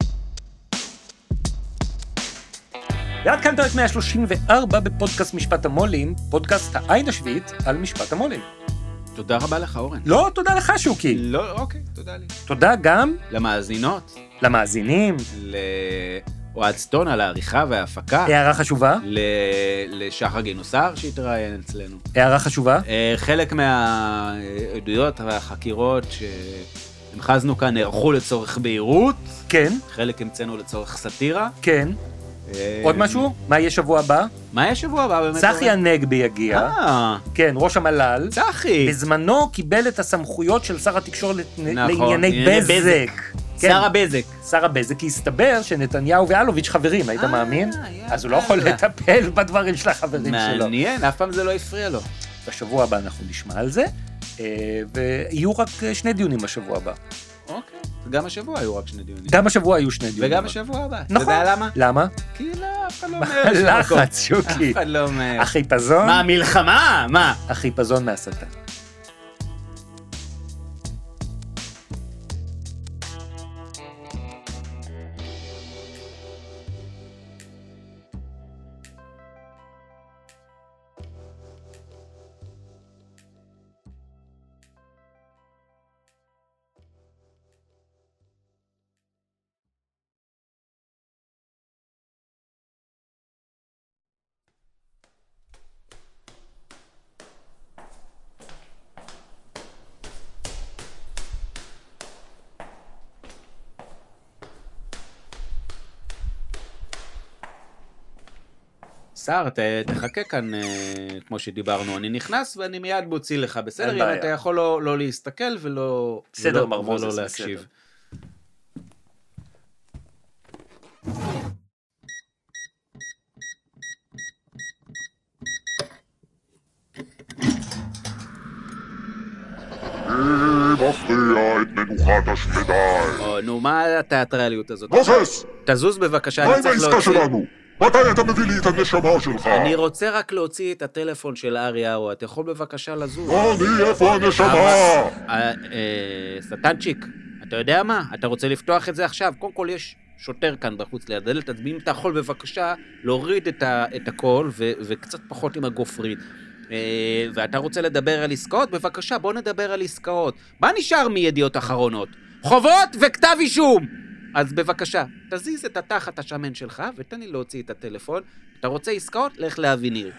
Speaker 4: אוקיי.
Speaker 1: ועד כאן פרק 134 בפודקאסט משפט המו"לים, פודקאסט העין השביעית על משפט המו"לים.
Speaker 4: תודה רבה לך, אורן.
Speaker 1: לא, תודה לך שוקי.
Speaker 4: לא, אוקיי, תודה לי.
Speaker 1: תודה גם
Speaker 4: למאזינות,
Speaker 1: למאזינים.
Speaker 4: לאוהד סטון על העריכה וההפקה,
Speaker 1: הערה חשובה,
Speaker 4: ל- לשחר גינוסר שהתראיין אצלנו.
Speaker 1: הערה חשובה.
Speaker 4: אה, חלק מהעדויות והחקירות שהמחזנו כאן נערכו לצורך בהירות,
Speaker 1: כן,
Speaker 4: חלק המצאנו לצורך סאטירה.
Speaker 1: כן.
Speaker 4: אה,
Speaker 1: עוד משהו? מה יהיה שבוע הבא?
Speaker 4: מה יש שבוע הבא באמת?
Speaker 1: צחי
Speaker 4: אורן?
Speaker 1: הנגבי יגיע.
Speaker 4: אה,
Speaker 1: כן, ראש המל"ל.
Speaker 4: צחי.
Speaker 1: בזמנו קיבל את הסמכויות של שר התקשורת
Speaker 4: כן. נכון,
Speaker 1: לענייני
Speaker 4: לענייני
Speaker 1: בזק. כן.
Speaker 4: שר הבזק.
Speaker 1: שר הבזק, כי הסתבר שנתניהו ואלוביץ' חברים, היית
Speaker 4: אה,
Speaker 1: מאמין?
Speaker 4: יאללה.
Speaker 1: אז הוא לא יכול לטפל בדברים של החברים שלו.
Speaker 4: מעניין, אף פעם זה לא הפריע לו.
Speaker 1: בשבוע הבא אנחנו נשמע על זה, אה, ויהיו רק אה, שני דיונים בשבוע הבא.
Speaker 4: אוקיי. גם השבוע היו רק שני דיונים.
Speaker 1: גם השבוע היו שני דיונים.
Speaker 4: וגם השבוע הבא. אתה
Speaker 1: נכון.
Speaker 4: יודע למה?
Speaker 1: למה?
Speaker 4: כי לא, אף אחד לא אומר. יש לו מקום.
Speaker 1: לחץ, שוקי.
Speaker 4: אף אחד לא אומר.
Speaker 1: החיפזון,
Speaker 4: מה, מלחמה? מה?
Speaker 1: החיפזון מהשטן.
Speaker 4: שר, ת- תחכה כאן, אה, כמו שדיברנו. אני נכנס ואני מיד מוציא לך, בסדר?
Speaker 1: אין
Speaker 4: אם
Speaker 1: בעיה.
Speaker 4: אתה יכול לא לא להסתכל ולא...
Speaker 1: בסדר,
Speaker 4: ולא-
Speaker 1: מר מוזס,
Speaker 4: ולא
Speaker 1: בסדר.
Speaker 4: להקשיב.
Speaker 14: מכריע את מנוחת השמדי.
Speaker 4: או, נו, מה התיאטרליות הזאת?
Speaker 14: מוזס,
Speaker 4: תזוז בבקשה,
Speaker 14: מה
Speaker 4: אני
Speaker 14: עם
Speaker 4: צריך
Speaker 14: העסקה
Speaker 4: להוציא...
Speaker 14: שלנו? מתי אתה מביא לי את הנשמה שלך?
Speaker 4: אני רוצה רק להוציא את הטלפון של ארי ארו, אתה יכול בבקשה לזוז?
Speaker 14: רוני, איפה הנשמה?
Speaker 4: אה, אה, שטנצ'יק, אתה יודע מה? אתה רוצה לפתוח את זה עכשיו? קודם כל יש שוטר כאן בחוץ ליד הדלת, אז אם אתה יכול בבקשה להוריד את, ה, את הכל ו, וקצת פחות עם הגופרית. אה, ואתה רוצה לדבר על עסקאות? בבקשה, בוא נדבר על עסקאות. מה נשאר מידיעות אחרונות? חובות וכתב אישום! אז בבקשה, תזיז את התחת השמן שלך ותן לי להוציא את הטלפון. אתה רוצה עסקאות? לך לאביניר.